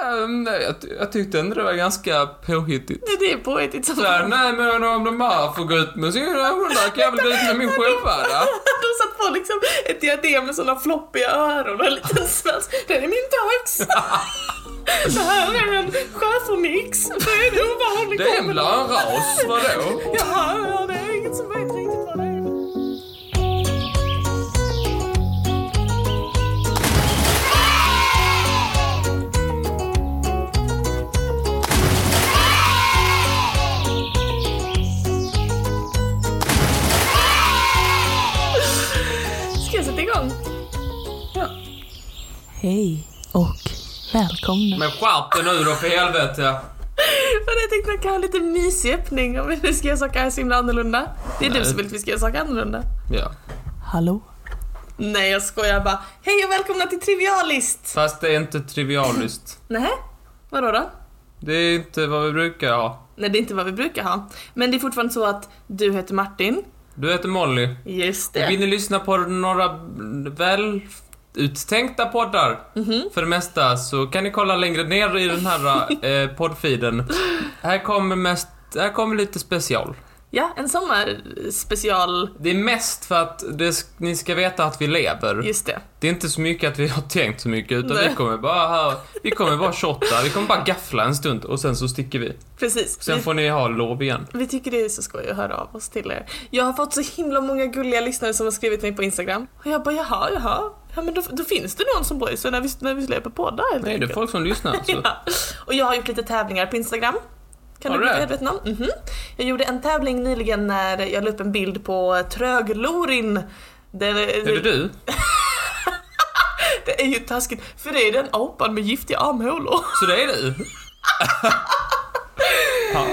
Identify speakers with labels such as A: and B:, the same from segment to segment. A: Ja, Ehm, nej, jag, ty- jag tyckte ändå det var ganska påhittigt.
B: Det är påhittigt som
A: Så här, nej men om de här får gå ut med sina hundar kan jag väl gå ut med min sköldpadda?
B: De satt på liksom ett diadem med såna floppiga öron och en liten svans. Det är min tax! Det här är en schäfernix. Det är en ovanlig
A: Det är väl en
B: kombination.
A: ras, vadå?
B: Jaha, ja, det är ingen som vet riktigt vad det är. Ska jag sätta igång?
A: Ja.
B: Hej och välkomna.
A: Men skärp dig nu då för helvete.
B: Men jag tänkte att jag kan ha lite mysig öppning om vi ska göra saker så himla annorlunda. Det är
A: Nej.
B: du som vill att vi ska göra saker annorlunda.
A: Ja.
B: Hallå? Nej jag skojar bara. Hej och välkomna till Trivialist!
A: Fast det är inte trivialiskt.
B: Nej, vadå då?
A: Det är inte vad vi brukar ha.
B: Nej det är inte vad vi brukar ha. Men det är fortfarande så att du heter Martin.
A: Du heter Molly.
B: Just
A: Vill
B: det.
A: ni lyssna på några väl uttänkta poddar för det mesta så kan ni kolla längre ner i den här eh, poddfeeden. Här kommer mest, här kommer lite special.
B: Ja, en sommarspecial.
A: Det är mest för att det, sk- ni ska veta att vi lever.
B: Just det.
A: Det är inte så mycket att vi har tänkt så mycket utan
B: Nej.
A: vi kommer bara här, vi kommer bara shotta, vi kommer bara gaffla en stund och sen så sticker vi.
B: Precis.
A: Sen
B: Vi-
A: får ni ha lov igen.
B: Vi tycker det är så skoj att höra av oss till er. Jag har fått så himla många gulliga lyssnare som har skrivit till mig på Instagram. Och jag bara jaha, jaha. Ja men då, då finns det någon som bryr sig när vi, när vi släpper poddar helt
A: Nej, det är
B: enkelt.
A: folk som lyssnar. Så.
B: Ja. Och jag har gjort lite tävlingar på Instagram. Kan
A: Har
B: du
A: du
B: bli
A: det?
B: medveten om? Mhm. Jag gjorde en tävling nyligen när jag la upp en bild på Tröglorin. Det,
A: Är det du?
B: det är ju taskigt, för det är den apan med giftiga armhålor.
A: Så det är du? ja.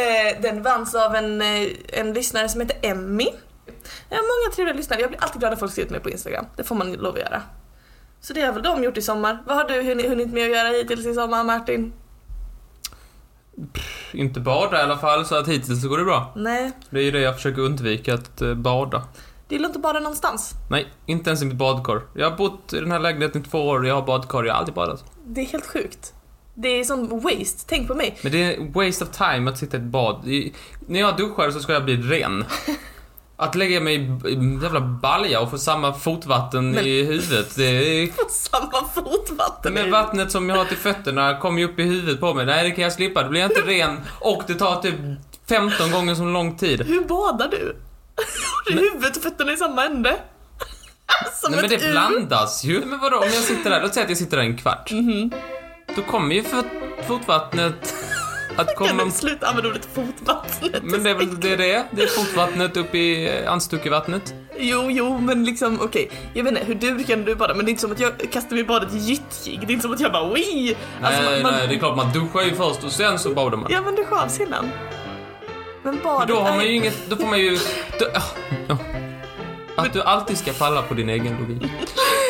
B: Eh, den vanns av en, eh, en lyssnare som heter Emmy. Jag har många trevliga lyssnare, jag blir alltid glad när folk skriver till mig på Instagram. Det får man lov att göra. Så det har väl de gjort i sommar. Vad har du hunn- hunnit med att göra hittills i sommar Martin?
A: Inte bada i alla fall, så att hittills så går det bra.
B: Nej,
A: Det är ju det jag försöker undvika, att eh, bada.
B: det gillar inte bara någonstans.
A: Nej, inte ens i mitt badkar. Jag har bott i den här lägenheten i två år, jag har badkar, jag har aldrig badat.
B: Det är helt sjukt. Det är sån waste, tänk på mig.
A: Men det är en waste of time att sitta i ett bad. I, när jag duschar så ska jag bli ren. Att lägga mig i i en jävla balja och få samma fotvatten
B: Men-
A: i huvudet, det är...
B: På samma fotvatten.
A: Men vattnet som jag har till fötterna kommer ju upp i huvudet på mig. Nej, det kan jag slippa. Då blir jag inte ren och det tar typ 15 gånger så lång tid.
B: Hur badar du? Har du huvudet och fötterna i samma ände? Som
A: Nej men det
B: ett U.
A: blandas ju. Men vadå, om jag sitter där, låt säga att jag sitter där en kvart. Då kommer ju fot- fotvattnet att
B: Kan
A: komma...
B: du sluta använda ordet fotvattnet?
A: Men det är väl det det är? Det är fotvattnet upp i eh, anstuckevattnet.
B: Jo, jo, men liksom okej. Jag vet inte hur du kan du bada, men det är inte som att jag kastar mig i badet gyttjig. Det är inte som att jag bara wii. Alltså,
A: nej,
B: man-
A: nej, det är klart man duschar ju först och sen så badar man.
B: Ja, men du sjavs innan. Men badet
A: Då har
B: är-
A: man ju inget, då får man ju... Då, ah, ja. Att du alltid ska falla på din egen logik.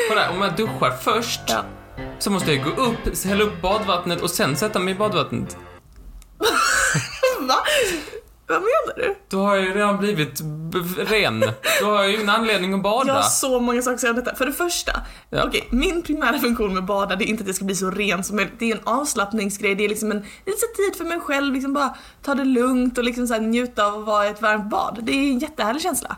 A: Kolla, om jag duschar först
B: Ja.
A: så måste jag gå upp, hälla upp badvattnet och sen sätta mig i badvattnet.
B: Va? Vad menar du?
A: Då har jag ju redan blivit b- ren. Då har jag ju ingen anledning att bada.
B: Jag har så många saker att säga om detta. För det första,
A: Ja.
B: okej, min primära funktion med bada det är inte att jag ska bli så ren som möjligt. Det är en avslappningsgrej, det är liksom en lite tid för mig själv, liksom bara ta det lugnt och liksom så här njuta av att vara i ett varmt bad. Det är en jättehärlig känsla.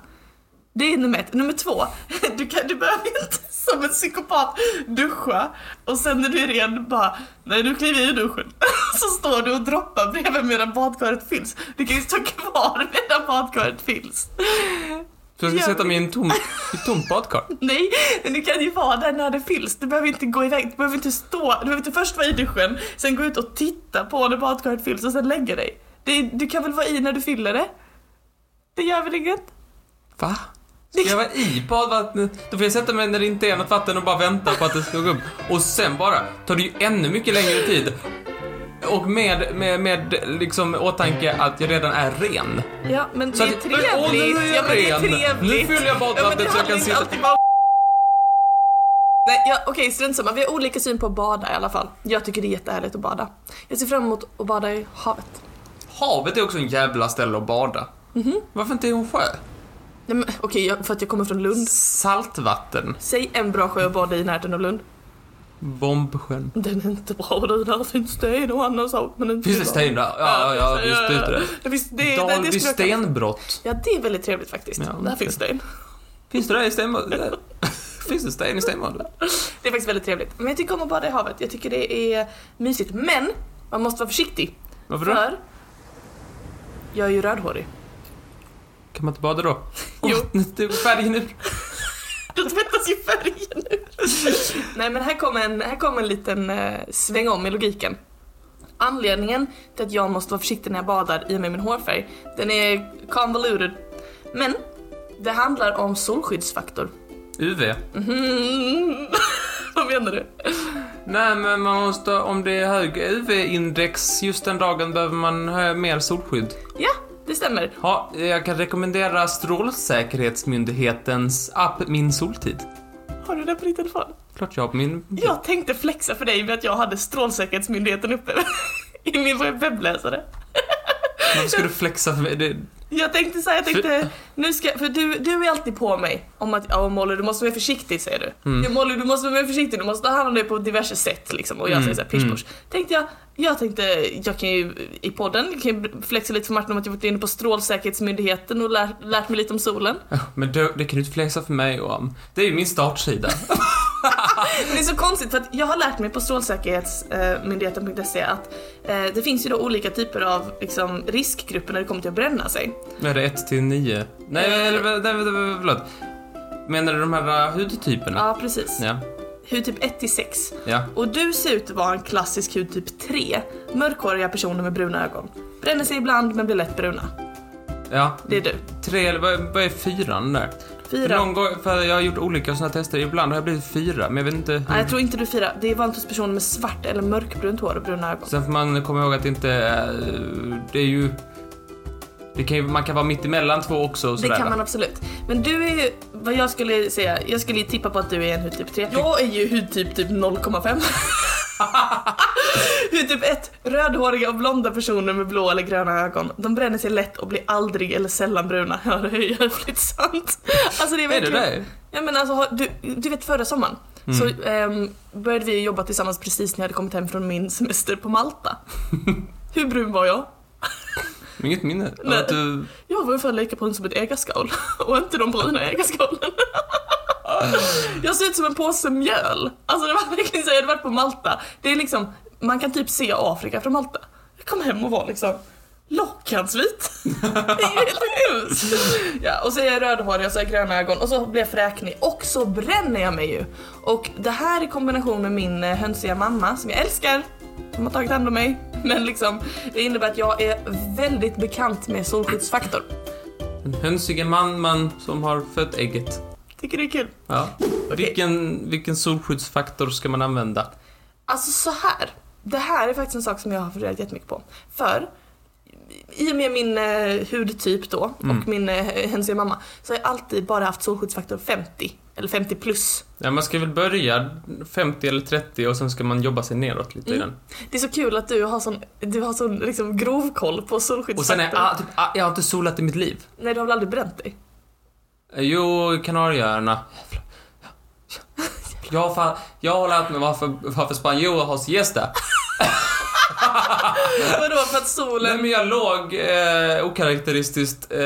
B: Det är nummer ett. Nummer två, du, kan, du behöver inte som en psykopat duscha och sen när du är ren bara, nej nu kliver jag ur duschen. Så står du och droppar bredvid medan badkaret fylls. Du kan ju stå kvar medan badkaret fylls.
A: Så jag ska
B: Ja.
A: sätta mig i en tom, i ett tomt badkar?
B: Nej, men du kan ju vara där när det fylls. Du behöver inte gå iväg, du behöver inte stå. Du behöver inte först vara i duschen, sen gå ut och titta på när badkaret fylls och sen lägga dig. Det, du kan väl vara i när du fyller det? Det gör väl inget?
A: Va? Ska jag vara i badvattnet? Då får jag sätta mig när det inte är något vatten och bara vänta på att det ska gå upp. Och sen bara tar det ju ännu mycket längre tid. Och med, med, med liksom åtanke att jag redan är ren.
B: Ja, men
A: Så
B: det är
A: att- Åh, nu är jag
B: trevligt. ja, men det är
A: ren.
B: trevligt.
A: Nu fyller jag badvattnet
B: men det
A: så jag
B: handlar
A: kan
B: inte
A: sitta-
B: alltid bara om- Nej, ja, okej, strunt samma. Vi har olika syn på att bada i alla fall. Jag tycker det är jättehärligt att bada. Jag ser fram emot att bada i havet.
A: Havet är också en jävla ställe att bada.
B: Mhm.
A: Varför inte i en sjö?
B: Nej, men okej, jag- för att jag kommer från Lund.
A: Saltvatten.
B: Säg en bra sjö att bada i i närheten av Lund.
A: Bombsjön.
B: Den är inte bra du, där finns sten och annan sak men inte
A: Finns det
B: bra.
A: sten där? Ja, ja,
B: precis,
A: visst ute det.
B: det. Finns, det, det, det
A: Dalby
B: skulle jag kalla-
A: stenbrott.
B: Ja, det är väldigt trevligt faktiskt.
A: Ja,
B: där
A: okej.
B: finns sten.
A: Finns det där i stenbadet? Finns det sten i stenbadet?
B: Det är faktiskt väldigt trevligt. Men jag tycker om att bada i havet. Jag tycker det är mysigt. Men man måste vara försiktig.
A: Varför då?
B: För jag är ju rödhårig.
A: Kan man inte bada då?
B: Jo.
A: Åh, nu tog Färgen ur.
B: Då tvättas ju färgen nu. Nej men här kom en, här kom en liten eh, sväng om i logiken. Anledningen till att jag måste vara försiktig när jag badar i och med min hårfärg, den är convoluted. Men det handlar om solskyddsfaktor.
A: UV.
B: Mhm. Vad menar du?
A: Nej, men man måste, om det är hög UV-index just den dagen behöver man ha mer solskydd.
B: Ja, det stämmer.
A: Ja, jag kan rekommendera Strålsäkerhetsmyndighetens app Min Soltid.
B: Har du det på din telefon?
A: Klart jag har på min...
B: Jag tänkte flexa för dig med att jag hade Strålsäkerhetsmyndigheten uppe i min webbläsare.
A: Varför ska du flexa för mig? Det,
B: Jag tänkte så här, jag tänkte, nu ska, för du, du är alltid på mig om att, ja Molly du måste vara mer försiktig säger du.
A: mm.
B: Ja Molly du måste vara mer försiktig, du måste ta hand om dig på diverse sätt liksom. Och jag
A: Mm,
B: säger såhär
A: mm.
B: pish Tänkte jag, jag tänkte, jag kan ju i podden, jag kan ju flexa lite för Martin om att jag varit inne på Strålsäkerhetsmyndigheten och lärt, lärt mig lite om solen.
A: men det, det kan du inte flexa för mig om. Det är ju min startsida.
B: Men det är så konstigt för att jag har lärt mig på strålsäkerhetsmyndigheten.se att eh, det finns ju då olika typer av liksom, riskgrupper när det kommer till att bränna sig.
A: Är det 1 till 9? Nej,
B: Eh.
A: eller, nej, nej, nej, förlåt. Menar du de här eh, hudtyperna?
B: Ja precis.
A: Ja.
B: Hudtyp 1 till 6.
A: Ja.
B: Och du ser ut att vara en klassisk hudtyp 3. Mörkhåriga personer med bruna ögon. Bränner sig ibland men blir lätt bruna.
A: Ja.
B: Det är du.
A: Tre, eller vad vad är fyran där?
B: Fyra.
A: Någon gång, för jag har gjort olika sådana tester, ibland har jag blivit fyra, men jag vet inte hur.
B: Nej, jag tror inte du firar. Det är vanligtvis personer med svart eller mörkbrunt hår och bruna ögon.
A: Sen får man komma ihåg att det inte, eh, det är ju, det kan ju, man kan vara mitt emellan två också och
B: Det
A: sådär.
B: kan man absolut. Men du är ju, vad jag skulle säga, jag skulle tippa på att du är en typ hudtyp 3. Jag är ju hudtyp typ 0,5. hudtyp 1, typ rödhåriga och blonda personer med blå eller gröna ögon. De bränner sig lätt och blir aldrig eller sällan bruna. Ja, det är ju jävligt sant. Alltså det är
A: Är det
B: verkligen...
A: det?
B: Ja men alltså, har- du, du vet förra sommaren så ehm, började vi jobba tillsammans precis när jag hade kommit hem från min semester på Malta. Hur brun var jag?
A: Inget minne?
B: Nej.
A: Att du,
B: Jag var ungefär lika brun som ett ägarskal och inte de bruna ägarskalen. jag ser ut som en påse mjöl. Alltså det var verkligen så, jag hade varit på Malta. Det är liksom, man kan typ se Afrika från Malta. Jag kom hem och var liksom Lockhandsvit! Det är helt hemskt. Ja, och så är jag rödhårig och så har jag gröna ögon och så blir jag fräknig och så bränner jag mig ju. Och det här i kombination med min eh, hönsiga mamma som jag älskar, som har tagit hand om mig. Men liksom, det innebär att jag är väldigt bekant med solskyddsfaktor.
A: den hönsiga man, man som har fött ägget.
B: Tycker det är kul.
A: Ja.
B: Okej.
A: Vilken, vilken solskyddsfaktor ska man använda?
B: Alltså så här. Det här är faktiskt en sak som jag har funderat jättemycket på. För i och med min eh, hudtyp då och min eh, hönsiga mamma så har jag alltid bara haft solskyddsfaktor 50. Eller 50 plus.
A: Ja, man ska väl börja 50 eller 30 och sen ska man jobba sig neråt
B: Mm.
A: lite i den.
B: Det är så kul att du har sån, du har sån liksom, grov koll på
A: Och sen
B: solskyddsfaktor.
A: är ah, typ, ah, jag har inte solat i mitt liv.
B: Nej du har väl aldrig bränt dig?
A: Eh, Jo, Kanarieöarna. Jävlar. Jag har fan, jag har lärt mig varför, varför spanjorer har siesta.
B: Vadå för att solen...
A: Nej men jag låg eh, okaraktäristiskt. Eh,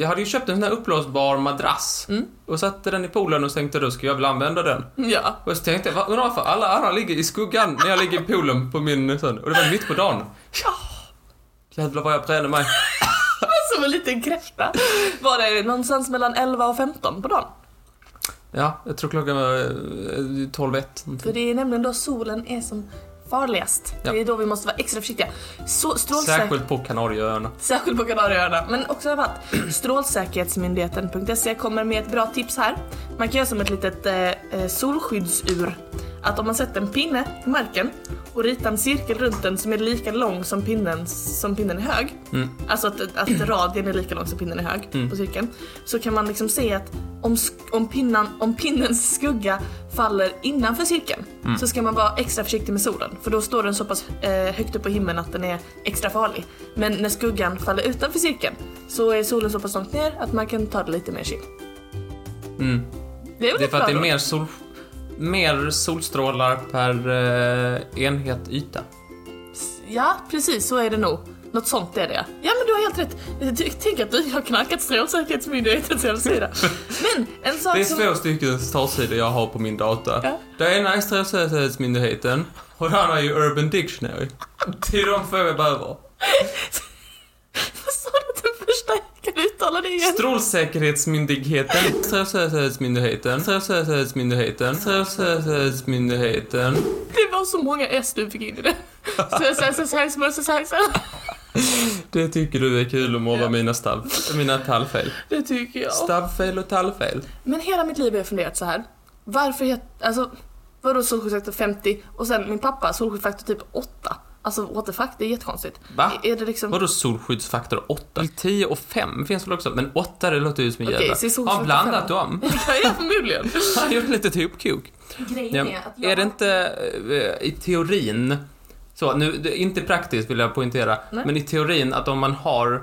A: jag hade ju köpt en sån här uppblåsbar madrass.
B: Mm.
A: Och satte den i poolen och tänkte då ska jag väl använda den.
B: Ja.
A: Och så tänkte jag, "Va, undrar varför alla andra ligger i skuggan när jag ligger i poolen på min sån. Och det var mitt på dagen.
B: ja.
A: Jävlar vad jag brände mig.
B: Som en liten kräfta. Var det någonstans mellan 11 och 15 på dagen?
A: Ja, jag tror klockan var eh, 12 ett.
B: För det är nämligen då solen är som farligast.
A: Ja.
B: Det är då vi måste vara extra försiktiga. Så, strålsäker...
A: Särskilt på Kanarieöarna.
B: Särskilt på Kanarieöarna, men också överallt. Strålsäkerhetsmyndigheten.se kommer med ett bra tips här. Man kan göra som ett litet eh, eh, solskyddsur. Att om man sätter en pinne i marken och ritar en cirkel runt den som är lika lång som pinnen, som pinnen är hög.
A: Mm.
B: Alltså att, att radien är lika lång som pinnen är hög på cirkeln. Så kan man liksom se att om, sk- om, pinnan, om pinnens skugga faller innanför cirkeln
A: Mm.
B: så ska man vara extra försiktig med solen. För då står den så pass eh, högt upp på himlen att den är extra farlig. Men när skuggan faller utanför cirkeln så är solen så pass långt ner att man kan ta det lite mer chill.
A: Mm.
B: Det är väl
A: Det är
B: ett
A: för att
B: bra
A: det är
B: råd?
A: mer sol... mer solstrålar per eh, enhet yta.
B: Ja, precis så är det nog. Något sånt är det. Ja men du har helt rätt. Du- Tänk att du har knackat Strålsäkerhetsmyndighetens hemsida. Men en sak
A: Det är
B: som...
A: två stycken startsidor jag har på min dator.
B: Alltså- Ja.
A: Det ena är Strålsäkerhetsmyndigheten och det andra är ju Urban Dictionary. Det är de två jag behöver.
B: Vad sa du att den första Kan du uttala det igen?
A: Strålsäkerhetsmyndigheten, Strålsäkerhetsmyndigheten, Strålsäkerhetsmyndigheten, Strålsäkerhetsmyndigheten.
B: Det var så många S du fick in i det. Så- så- så- så- så- så- så- så.
A: Det tycker du är kul att måla
B: Ja.
A: mina, stav, mina tallfel.
B: Det tycker jag.
A: Stavfel och tallfel.
B: Men hela mitt liv har jag funderat så här. Varför heter... Alltså, vadå solskyddsfaktor 50 och sen min pappa solskyddsfaktor typ 8? Alltså what the fuck, det är jättekonstigt.
A: Va?
B: Är- Är det liksom...
A: Ah, Vadå solskyddsfaktor 8? 10 och 5 finns väl också? Men 8 det låter ju som en
B: Okej,
A: jävla...
B: så är solskyddsfaktor
A: Har han blandat
B: fem.
A: dem?
B: Ja, förmodligen.
A: Han gjorde lite hopkok.
B: Grejen
A: Ja, är det inte eh, i teorin, så nu, det är inte praktiskt vill jag poängtera,
B: Nej.
A: men i teorin att om man har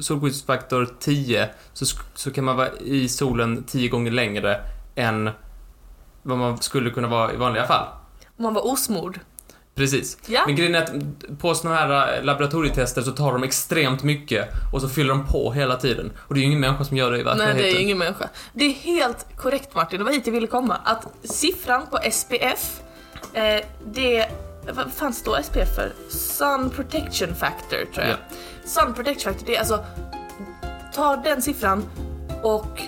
A: solskyddsfaktor 10 så, sk- så kan man vara i solen 10 gånger längre än vad man skulle kunna vara i vanliga fall.
B: Om man var osmord.
A: Precis.
B: Ja.
A: Men grejen är att på såna här eh, laboratorietester så tar de extremt mycket och så fyller de på hela tiden. Och det är ju ingen människa som gör det i
B: Nej,
A: verkligheten.
B: det är ingen människa. Det är helt korrekt Martin, det var hit jag ville komma. Att siffran på SPF, eh, det... Vad fan står SPF för? Sun Protection Factor tror jag.
A: Ja.
B: Sun Protection Factor, det är alltså... Ta den siffran och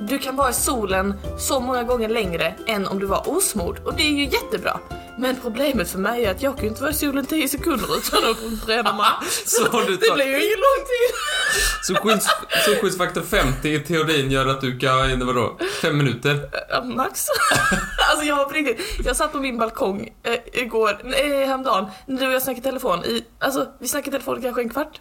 B: du kan vara i solen så många gånger längre än om du var osmord. Och det är ju jättebra. Men problemet för mig är att jag kan ju inte vara i solen 10 sekunder utan att bränna mig.
A: Så du
B: Det
A: tar-
B: blir ju ingen lång tid.
A: Så, skydds, så skyddsfaktor 50 i teorin gör att du kan, eh, vadå, fem minuter?
B: Ja, Max. alltså jag var på riktigt. Jag satt på min balkong eh, igår, nej häromdagen, när du och jag snackade i telefon i, alltså vi snackade i telefon kanske en kvart.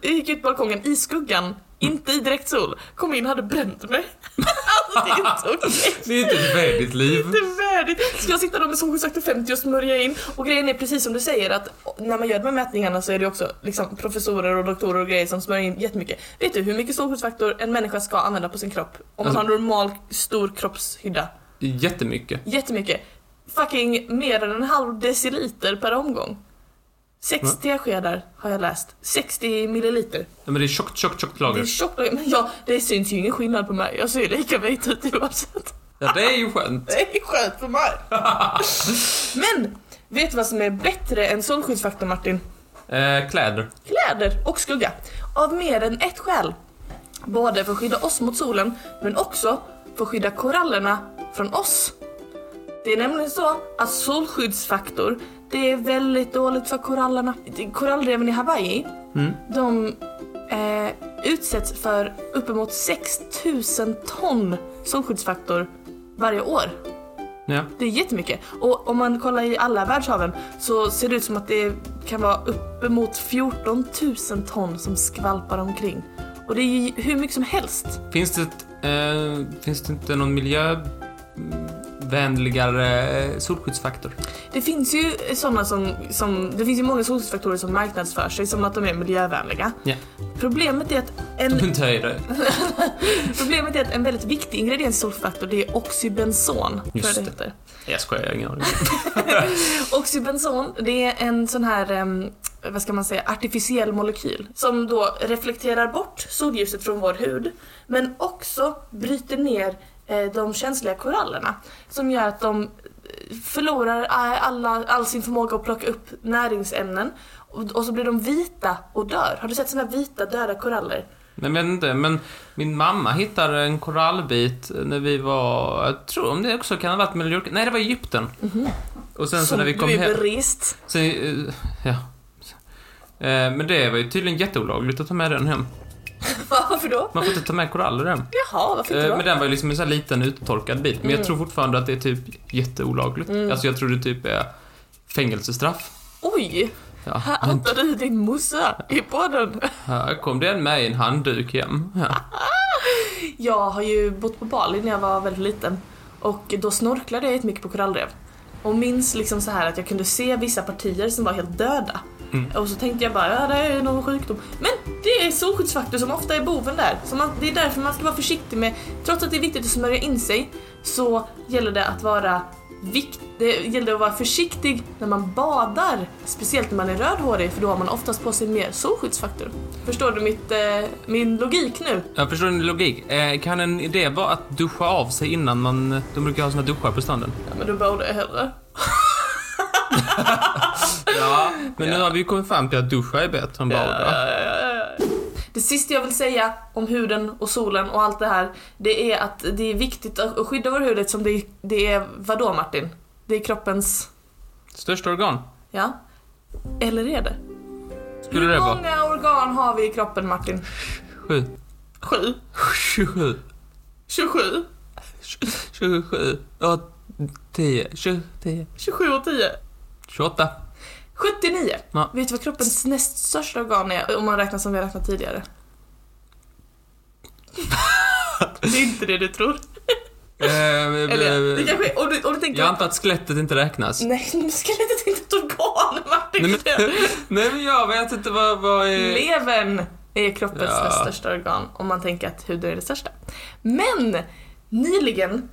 B: Jag gick ut på balkongen i skuggan, inte i direkt sol. Kom in, hade bränt mig. alltså det är inte okej.
A: Det är inte ett värdigt liv.
B: Det är värdigt. Ska jag sitta där med solskyddsfaktor 50 och smörja in? Och grejen är precis som du säger att när man gör de här mätningarna så är det också liksom professorer och doktorer och grejer som smörjer in jättemycket. Vet du hur mycket solskyddsfaktor en människa ska använda på sin kropp? Om man
A: Alltså-
B: har en normal stor kroppshydda.
A: Jättemycket.
B: Jättemycket. Fucking mer än en halv deciliter per omgång. 6 teskedar har jag läst. 60 milliliter.
A: Ja, men det är tjockt, tjockt, tjockt
B: Det är
A: lager.
B: tjockt. Men ja, det syns ju ingen skillnad på mig. Jag ser ju lika vit ut oavsett.
A: Ja, det är ju skönt.
B: Det är skönt för mig. Men, vet du vad som är bättre än solskyddsfaktor Martin?
A: Eh, kläder.
B: Kläder och skugga. Av mer än ett skäl. Både för att skydda oss mot solen, men också för att skydda korallerna från oss. Det är nämligen så att solskyddsfaktor, det är väldigt dåligt för korallerna. Korallreven i Hawaii, de eh, utsätts för uppemot 6000 ton solskyddsfaktor varje år.
A: Ja.
B: Det är jättemycket. Och om man kollar i alla världshaven så ser det ut som att det kan vara uppemot 14 000 ton som skvalpar omkring. Och det är ju hur mycket som helst.
A: Finns det, ett, eh, finns det inte någon miljövänligare eh, solskyddsfaktor?
B: Det finns ju sådana som, som det finns ju många solskyddsfaktorer som marknadsför sig som att de är miljövänliga.
A: Ja.
B: Problemet är att
A: De
B: en,
A: inte höjer det.
B: problemet är att en väldigt viktig ingrediens i solskyddsfaktor det är oxybenson. tror
A: Just
B: jag det.
A: det.
B: Heter.
A: Jag skojar, jag har ingen aning.
B: Oxybenson, det är en sån här, em, vad ska man säga, artificiell molekyl som då reflekterar bort solljuset från vår hud men också bryter ner eh, de känsliga korallerna som gör att de eh, förlorar eh, alla, all sin förmåga att plocka upp näringsämnen och, och så blir de vita och dör. Har du sett såna här vita döda koraller?
A: Nej, men jag vet inte, men min mamma hittade en korallbit när vi var, jag tror om det också kan ha varit Mallorca, nej det var Egypten. Och sen så
B: Mhm. som
A: när vi kom
B: du är
A: hem,
B: berest.
A: sen, eh, ja. Eh, Men det var ju tydligen jätteolagligt att ta med den hem.
B: Varför då?
A: Man får inte ta med koraller hem.
B: Jaha, varför inte
A: Eh,
B: då?
A: Men den var ju liksom en sån här liten uttorkad bit. Men
B: Mm.
A: jag tror fortfarande att det är typ jätteolagligt. Alltså jag tror det typ är fängelsestraff.
B: Oj!
A: Ja,
B: Här
A: men
B: outar du din morsa i podden.
A: här kom den med i en handduk hem. Ja.
B: Jag har ju bott på Bali när jag var väldigt liten och då snorklade jag jättemycket på korallrev. Och minns liksom så här att jag kunde se vissa partier som var helt döda. Och så tänkte jag bara, ja det är någon sjukdom. Men Det är solskyddsfaktor som ofta är boven där. Så man, det är därför man ska vara försiktig med, trots att det är viktigt att smörja in sig, så gäller det att vara Vikt, det gäller att vara försiktig när man badar, speciellt när man är rödhårig för då har man oftast på sig mer solskyddsfaktor. Förstår du mitt, eh, min logik nu?
A: Jag förstår din logik. Eh, kan en idé vara att duscha av sig innan man... De brukar ha såna duschar på stranden.
B: Ja, men då borde jag hellre.
A: Ja. Men nu har vi ju kommit fram till att duscha är bättre än bada.
B: Det sista jag vill säga om huden och solen och allt det här, det är att det är viktigt att att skydda vår hud eftersom det är, det är vadå Martin? Det är kroppens,
A: Största organ.
B: ja? Eller är det?
A: Skulle
B: Hur
A: det vara?
B: många organ har vi i kroppen Martin?
A: Sju.
B: Sju?
A: 27.
B: 27?
A: 27. Ja, 10. 20. 10.
B: 27 och 10?
A: 28.
B: 79!
A: Ja.
B: Vet du vad kroppens näst största organ är om man räknar som vi har räknat tidigare? det är inte det du tror.
A: Eh,
B: Eller det
A: eh,
B: kanske, om, du, om du tänker...
A: jag antar att skelettet inte räknas.
B: Nej, nu ska jag inte tänka på organ Martin!
A: Nej, men, nej, men jag vet inte vad... vad är...
B: Levern är kroppens
A: Ja.
B: näst största organ om man tänker att huden är det största. Men nyligen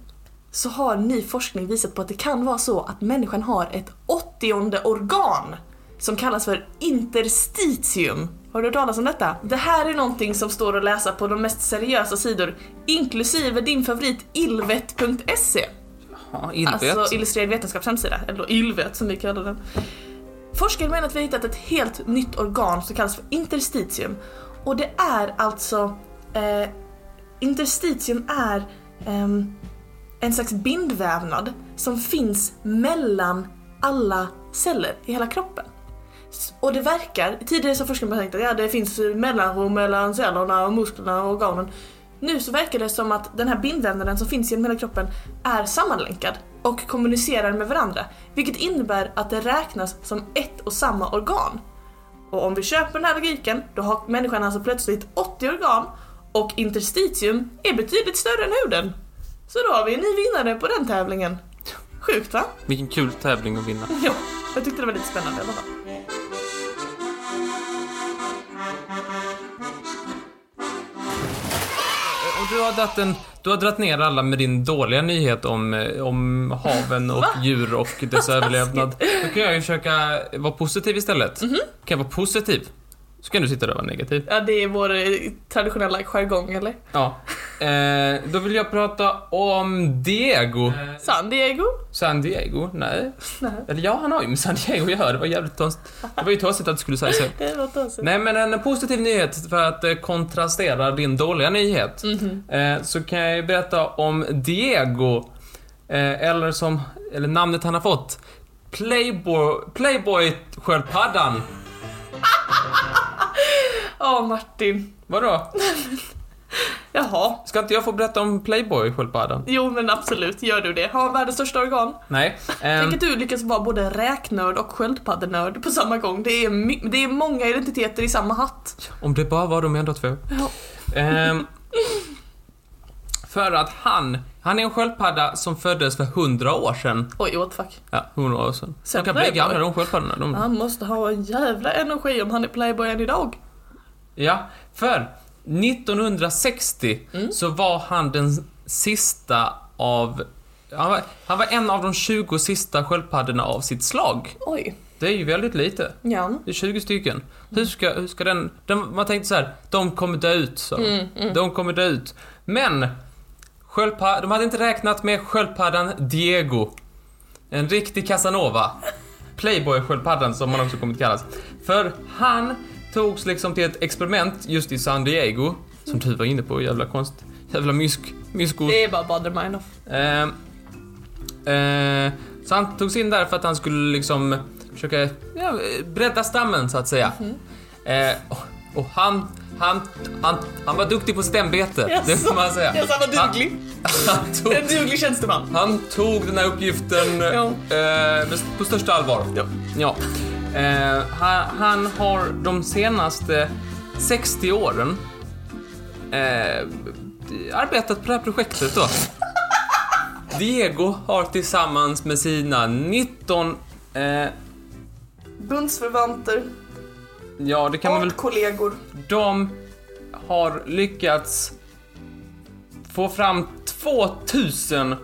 B: så har ny forskning visat på att det kan vara så att människan har ett åttionde organ som kallas för interstitium. Har du hört talas om detta? Det här är någonting som står att läsa på de mest seriösa sidor, inklusive din favorit illvet.se.
A: Ja, inte
B: Alltså illustrerad vetenskaps hemsida, eller då Ylvet som vi kallar den. Forskare menar att vi har hittat ett helt nytt organ som kallas för interstitium. Och det är alltså... Eh, interstitium är ehm, en slags bindvävnad som finns mellan alla celler i hela kroppen. S- Och det verkar, tidigare så har forskarna bara tänkt att ja, det finns mellanrum mellan cellerna och musklerna och organen. Nu så verkar det som att den här bindvävnaden som finns genom hela kroppen är sammanlänkad och kommunicerar med varandra. Vilket innebär att det räknas som ett och samma organ. Och om vi köper den här logiken, då har människan alltså plötsligt 80 organ och interstitium är betydligt större än huden. Så då har vi en ny vinnare på den tävlingen. Sjukt va?
A: Vilken kul tävling att vinna.
B: Ja, jag tyckte det var lite spännande i alla fall.
A: Och du har dratt, en, du har dratt ner alla med din dåliga nyhet om, eh, om haven och djur och dess överlevnad. Då kan jag ju försöka vara positiv istället. Kan jag vara positiv? Så kan du sitta där och vara negativ.
B: Ja, det är vår eh, traditionella jargong, eller?
A: Ja. Eh, då vill jag prata om Diego.
B: San Diego?
A: San Diego? Nej.
B: Nej,
A: Eller ja, han har ju med San Diego att göra. Det var jävligt tonstigt. Det var ju tossigt att du skulle säga så.
B: det låter så.
A: Nej, men en positiv nyhet för att eh, kontrastera din dåliga nyhet.
B: Mhm.
A: Eh, så kan jag ju berätta om Diego, eh, eller som, eller namnet han har fått, Playboy, Playboy-sköldpaddan.
B: Ja, Martin.
A: Vadå?
B: Jaha.
A: Ska inte jag få berätta om Playboy-sköldpaddan?
B: Jo, men absolut, gör du det. Har han världens största organ?
A: Nej.
B: Tänk
A: ehm,
B: att du lyckas vara både räknörd och sköldpaddenörd på samma gång. Det är, my- det är många identiteter i samma hatt.
A: om det bara var de enda två.
B: Ja.
A: Ehm, för att han, han är en sköldpadda som föddes för hundra år sedan.
B: Oj, what the fuck.
A: Ja, hundra år sedan. De
B: Sen
A: kan bli
B: Playboy.
A: gamla de sköldpaddorna. De,
B: Han måste ha en jävla energi om han är playboy än idag.
A: Ja, för 1960 så var han den sista av... Han var, han var en av de 20 sista sköldpaddorna av sitt slag.
B: Oj.
A: Det är ju väldigt lite.
B: Ja.
A: Det är 20 stycken. Hur ska, hur ska den, den... Man tänkte så här, de kommer dö ut, så. De kommer dö ut. Men! Sköldpa, de hade inte räknat med sköldpaddan Diego. En riktig Casanova. Playboy-sköldpaddan som han också kommit kallas. För han togs liksom till ett experiment just i San Diego. Som du var inne på, jävla konst... Jävla mysk... Mysko...
B: Det är bara bother mine off.
A: Eh, eh, så han togs in där för att han skulle liksom försöka ja, bredda stammen så att säga.
B: Mhm.
A: Eh, och, och han, han, han, han var duktig på sitt ämbete, det
B: Jaså?
A: får man säga.
B: Jaså, han var duglig?
A: Han, han, tog,
B: En duglig tjänsteman.
A: han tog den här uppgiften
B: Ja.
A: eh, med- på största allvar.
B: Ja.
A: Ja. Eh, han, han har de senaste 60 åren eh, arbetat på det här projektet då. Diego har tillsammans med sina 19 eh,
B: Bundsförvanter.
A: Ja, det kan man
B: och
A: väl...
B: kollegor.
A: De har lyckats få fram 2000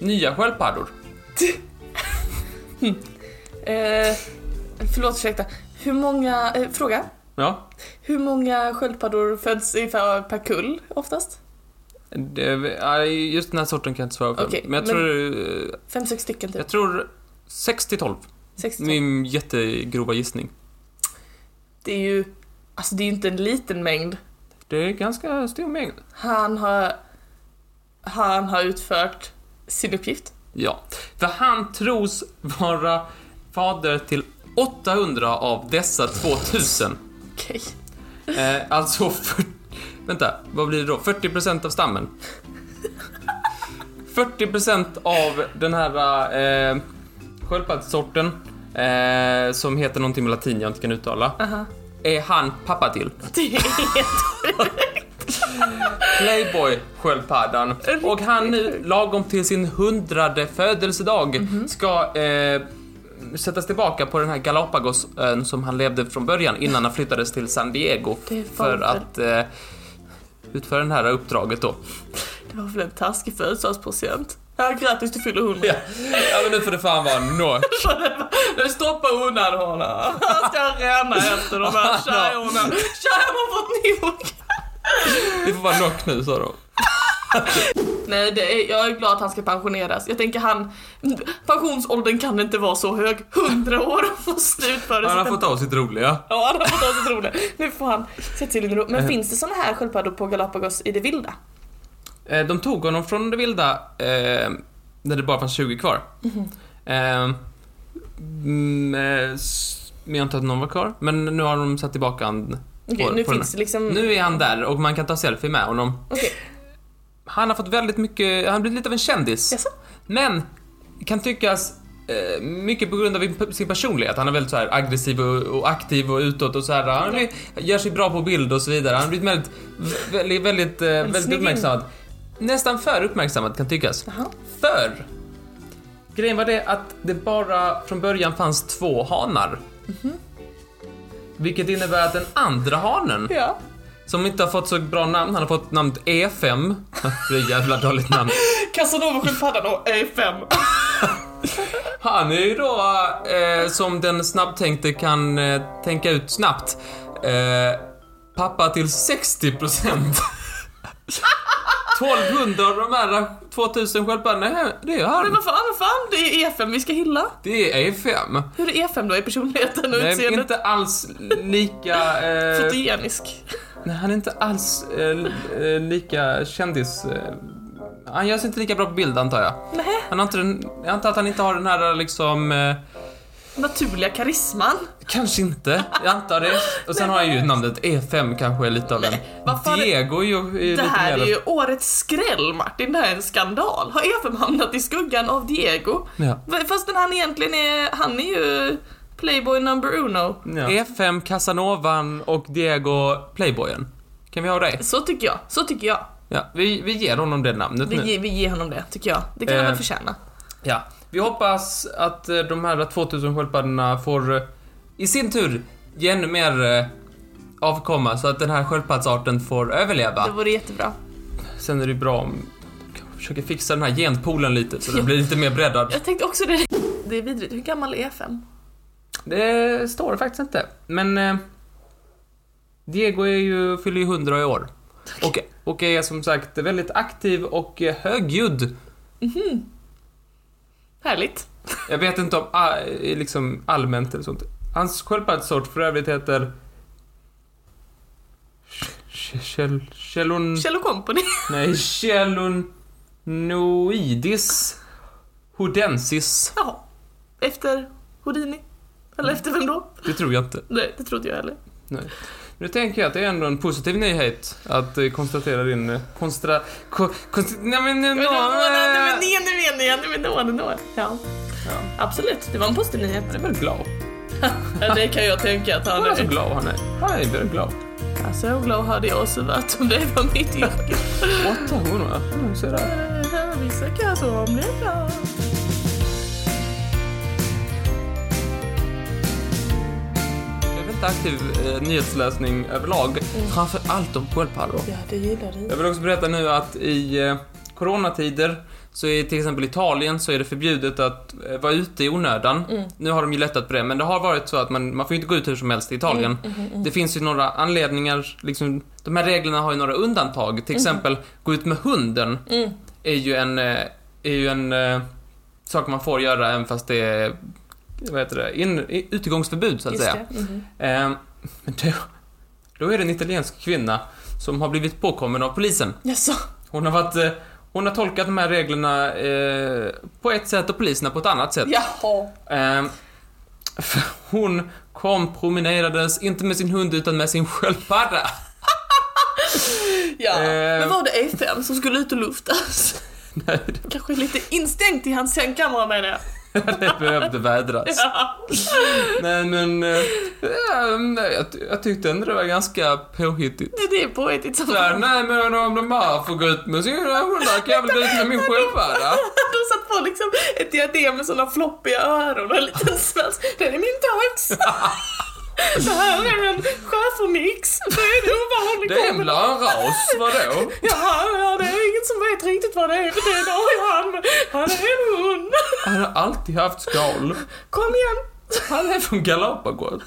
A: nya sköldpaddor.
B: Eh, förlåt, ursäkta. Hur många, eh, fråga.
A: Ja,
B: Hur många sköldpaddor föds ungefär per kull oftast?
A: det, ja, just den här sorten kan jag inte svara på.
B: Okej,
A: men jag
B: men-
A: tror... eh,
B: Fem, sex stycken typ.
A: Jag tror 6 till 12.
B: 60.
A: Min jättegrova gissning.
B: Det är ju, alltså det är ju inte en liten mängd.
A: Det är ganska stor mängd.
B: Han har, han har utfört sin uppgift.
A: Ja, för han tros vara fader till 800 av dessa 2000.
B: Okej.
A: Eh, alltså, för, vänta, vad blir det då? 40% av stammen. 40% av den här eh, sköldpaddssorten, eh, som heter någonting med latin jag inte kan uttala,
B: Aha.
A: är han pappa till.
B: Det är helt
A: Playboy-sköldpaddan. Och han nu, lagom till sin hundrade födelsedag, ska eh, sättas tillbaka på den här Galapagosön som han levde från början innan han flyttades till San Diego.
B: Det var
A: För
B: väl-
A: att eh, utföra det här uppdraget då.
B: Det var väl en taskig födelsedagspresent. Ja, grattis du fyller 100.
A: Ja, ja men nu får det fan vara nog.
B: Nu stoppar undan honom. Han ska rena efter de här tjejorna. Tjejerna har fått nog.
A: Det får vara nog nu sa de.
B: Nej, det är, jag är glad att han ska pensioneras. Jag tänker han... Pensionsåldern kan inte vara så hög. 100 år och få slut på det.
A: Han har fått av sitt roliga.
B: Ja, han har fått av sig roligt. Nu får han se till en ro. Men finns det såna här sköldpaddor på Galapagos i det vilda?
A: Eh, De tog honom från det vilda eh, när det bara fanns 20 kvar.
B: Mhm.
A: Eh, mm, eh, s- men jag antar att någon var kvar. Men nu har de satt tillbaka han.
B: Okej,
A: På-
B: nu
A: på den
B: finns det liksom...
A: Nu är han där och man kan ta selfie med honom.
B: Okej,
A: Han har fått väldigt mycket, han har blivit lite av en kändis.
B: jaså?
A: Men, kan tyckas eh, mycket på grund av sin personlighet. Han är väldigt så här aggressiv och, och aktiv och utåt och så här. Han blir, gör sig bra på bild och så vidare. Han har blivit väldigt, väldigt, väldigt, eh, väldigt
B: snygg-
A: uppmärksammad. Nästan för uppmärksammad kan tyckas.
B: Jaha.
A: För grejen var det att det bara från början fanns två hanar. Vilket innebär att den andra hanen,
B: Ja.
A: som inte har fått så bra namn, han har fått namnet E5. Det är ett jävla dåligt namn.
B: Casanova-sköldpaddan och E A5.
A: Han är ju då, eh, som den snabbtänkte kan eh, tänka ut snabbt, eh, pappa till 60%. 1200 av de här 2000 sköldpaddorna, nej, det är
B: Men
A: han.
B: vad fan, vad fan, det är E5 vi ska hylla.
A: Det är E5.
B: Hur är E5 då i personligheten och
A: Nej,
B: utseendet?
A: inte alls lika... Eh,
B: Fotogenisk.
A: nej, han är inte alls eh, l- eh, lika kändis... Eh, han gör sig inte lika bra på bild, antar jag.
B: Nej.
A: Han har inte den, jag antar att han inte har den här liksom... Eh,
B: Naturliga karisman.
A: kanske inte, jag antar det. Och sen har jag ju namnet E5 kanske är lite av en...
B: vad fan är-
A: Diego är ju är ju lite
B: Det här
A: mer...
B: är ju årets skräll Martin, det här är en skandal. Har E5 hamnat i skuggan av Diego?
A: Ja.
B: V- Fastän han egentligen är, han är ju playboy number uno.
A: E5, E Casanovan och Diego Playboyen. Kan vi ha det?
B: Så tycker jag, så tycker jag.
A: Ja, vi, vi ger honom det namnet nu.
B: Vi, ge, vi ger honom det, tycker jag. Det kan han
A: Eh.
B: väl förtjäna.
A: Ja, vi hoppas att eh, de här 2000 sköldpaddorna får eh, i sin tur ge ännu mer eh, avkomma så att den här sköldpaddsarten får överleva.
B: Det vore jättebra.
A: Sen är det ju bra om jag försöker fixa den här genpoolen lite så den blir lite mer breddad.
B: Jag tänkte också det. Det är vidrigt, hur gammal är E5?
A: Det står faktiskt inte, men eh, Diego är ju, fyller ju 100 i år. Och, och är som sagt väldigt aktiv och eh, högljudd.
B: Härligt.
A: Jag vet inte om ah, eh, liksom allmänt eller sånt. Hans sköldpaddssort för övrigt heter... Chelon...
B: Kjell och Company.
A: Nej, Chelonoidis Hodensis.
B: Jaha. Efter Houdini?
A: Mm.
B: Eller efter vem då?
A: Det tror jag inte.
B: Nej, det trodde jag heller.
A: Nej. Nu tänker jag att det är ändå en positiv nyhet att eh, konstatera din... eh, Konstra... Ko, konst, nej men nu...
B: Men det var- nej, men
A: eh,
B: nej, nej, nej, nej, men då, då. Ja.
A: Ja.
B: Absolut, det var en positiv nyhet.
A: Han är väldigt glad.
B: Ja, det kan jag tänka att han
A: Han är så
B: är.
A: glad han är. Han är väldigt glad.
B: Alltså, jag glad hade jag också varit om det var mitt yrke.
A: 800? Mm, så är det.
B: Vissa kan som bli glad.
A: Jag vet aktiv eh, nyhetslösning överlag. Framför allt om sköldpaddor.
B: Ja, det gillar du.
A: Mm. Jag vill också berätta nu att i eh, coronatider så är till exempel Italien så är det förbjudet att eh, vara ute i onödan. Nu har de ju lättat på det, men det har varit så att man, man får ju inte gå ut hur som helst i Italien.
B: Mm,
A: Det finns ju några anledningar, liksom, de här reglerna har ju några undantag.
B: Mhm.
A: Till exempel, gå ut med hunden
B: Mm.
A: är ju en, eh, är ju en eh, sak man får göra även fast det är vad heter det, in, i- utegångsförbud så att
B: Just
A: säga.
B: det. Mhm.
A: Ehm, Men då, då är det en italiensk kvinna som har blivit påkommen av polisen.
B: Jaså?
A: Hon har varit... eh, Hon har tolkat de här reglerna eh, på ett sätt och poliserna på ett annat sätt.
B: Jaha.
A: Ehm, för hon kom, promenerades, inte med sin hund utan med sin sköldpadda.
B: Ja.
A: Eh.
B: Men var det E5 som skulle ut och luftas?
A: Nej,
B: Kanske lite instängt i hans sängkammare menar jag.
A: det behövde vädras.
B: Ja.
A: Nej men... eh, ja, nej, jag, ty- jag tyckte ändå det var ganska påhittigt.
B: Det- Det är poetiskt som
A: Så här, nej men om de bara får gå ut med sina hundar kan jag väl gå ut med min sköldpadda.
B: De satt på liksom ett diadem med sådana floppiga öron och en liten svans. Den är min tax! Det här är en schäfermix. Det är en ovanlig
A: Det är väl
B: kombination.
A: en ras, vadå?
B: Jaha, ja, det är ingen som vet riktigt vad det är för det är då han. Han är en hund.
A: Han har alltid haft skal.
B: Kom igen.
A: Han är från Galapagos.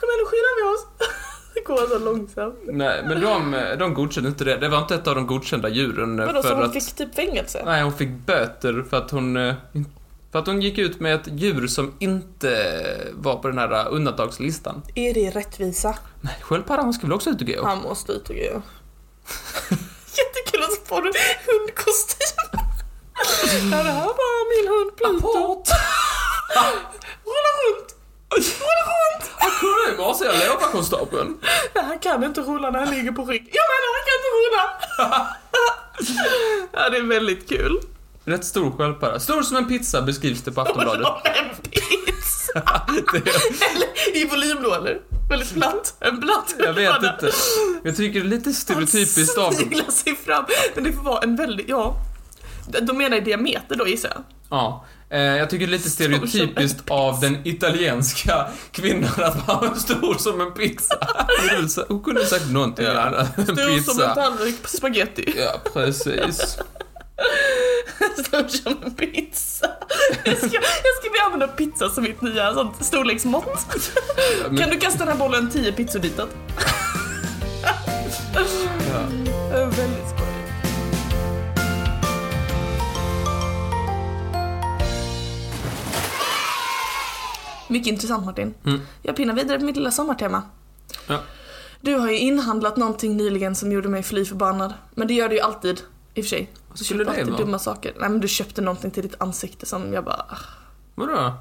B: Kom igen, nu skyddar vi oss. Det går så långsamt.
A: Nej, men de, de godkände inte det. Det var inte ett av de godkända djuren.
B: Vadå, så
A: för
B: hon
A: att,
B: fick typ fängelse?
A: Nej, hon fick böter för att hon... eh, För att hon gick ut med ett djur som inte var på den här undantagslistan.
B: Är det rättvisa?
A: Nej, sköldpaddan ska väl också ut och gå?
B: Han måste ut och gå. Jättekul att så får du hundkostym. ja, det här var min hund Pluto.
A: Apport.
B: Rulla runt! Rulla runt!
A: Han kunde ju bara säga lovar konstapeln.
B: Nej, han kan inte rulla när han ligger på rygg. Jag menar, han kan inte rulla! ja, det är väldigt kul.
A: Rätt stor sköldpadda. Stor som en pizza beskrivs det på Aftonbladet.
B: Vadå, en pizza?
A: Det är-
B: Eller, I volym då eller? Väldigt platt. En platt
A: Jag vet
B: sköldpadda.
A: inte. Jag tycker det är lite stereotypiskt av
B: Han
A: dem.
B: sniglar sig fram. Men det får vara en väldigt, ja. De menar i diameter då gissar jag.
A: Ja. Eh, jag tycker det är lite
B: som en
A: stereotypiskt av den italienska kvinnan att vara stor som en pizza. Hon kunde väl sa- Hon kunde ha sagt någonting
B: Ja.
A: annat än
B: Stor
A: pizza.
B: som en tallrik spagetti.
A: Ja, precis.
B: Stor som en pizza. Jag ska, jag ska börja använda pizza som mitt nya sånt storleksmått.
A: Men-
B: Kan du kasta den här bollen 10 pizzobitar?
A: Ja.
B: Det är Väldigt skoj. Mycket intressant Martin.
A: Mm.
B: Jag pinnar vidare på mitt lilla sommartema.
A: Ja.
B: Du har ju inhandlat någonting nyligen som gjorde mig fly förbannad. Men det gör du ju alltid. I och för sig.
A: Vad
B: Du
A: skulle
B: köper
A: det
B: alltid
A: vara?
B: dumma saker. Nej men du köpte någonting till ditt ansikte som jag bara... ah,
A: Vadå?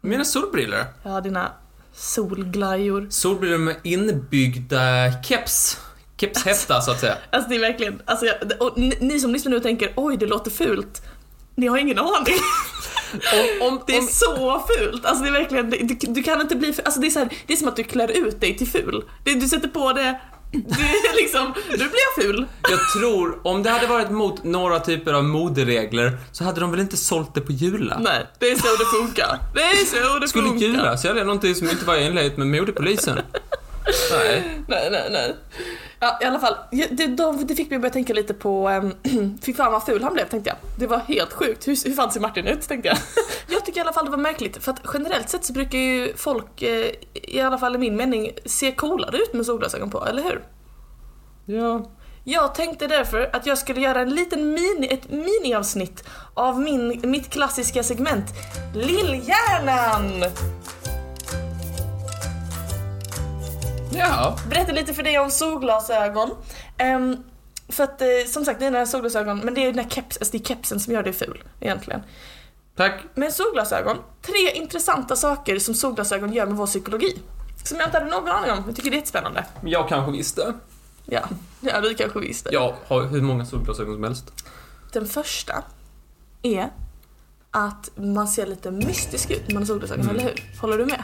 A: Mina solbriller
B: Ja, dina solglajjor.
A: Solbriller med inbyggda keps. Kepshäfta, så att säga.
B: Alltså det är verkligen... Alltså, jag, och ni, ni som lyssnar nu tänker oj det låter fult. Ni har ingen aning.
A: Om, om,
B: Det är
A: om,
B: så fult! Alltså det är verkligen, det- du, du kan inte bli ful. Alltså det är, så här, det är som att du klär ut dig till ful. Det, du sätter på det, du är liksom, nu blir jag ful.
A: jag tror, om det hade varit mot några typer av moderegler så hade de väl inte sålt det på Jula?
B: Nej, det är så det funkar. Det är så det
A: Skulle
B: funkar.
A: Jula sälja någonting som inte var i enlighet med modepolisen? Nej.
B: Nej, nej, nej. Ja, i alla fall. ja, Det, de, det fick mig att börja tänka lite på, um, fy fan vad ful han blev tänkte jag. Det var helt sjukt, hur, hur fan ser Martin ut tänkte jag. Jag tycker i alla fall det var märkligt, för att generellt sett så brukar ju folk, eh, i alla fall i min mening, se coolare ut med solglasögon på, eller hur?
A: Ja.
B: Jag tänkte därför att jag skulle göra en liten mini, ett miniavsnitt av min, mitt klassiska segment Lillhjärnan!
A: Ja.
B: Berätta lite för dig om solglasögon. Ehm, för att eh, som sagt, dina solglasögon, men det är ju den här keps, alltså det är kepsen som gör dig ful egentligen.
A: Tack.
B: Men solglasögon, tre intressanta saker som solglasögon gör med vår psykologi. Som jag inte hade någon aning om, jag tycker det är jättespännande.
A: Jag kanske visste.
B: Ja, ja du kanske visste.
A: Jag har hur många solglasögon som helst.
B: Den första är att man ser lite mystisk ut när man har solglasögon, eller hur? Håller du med?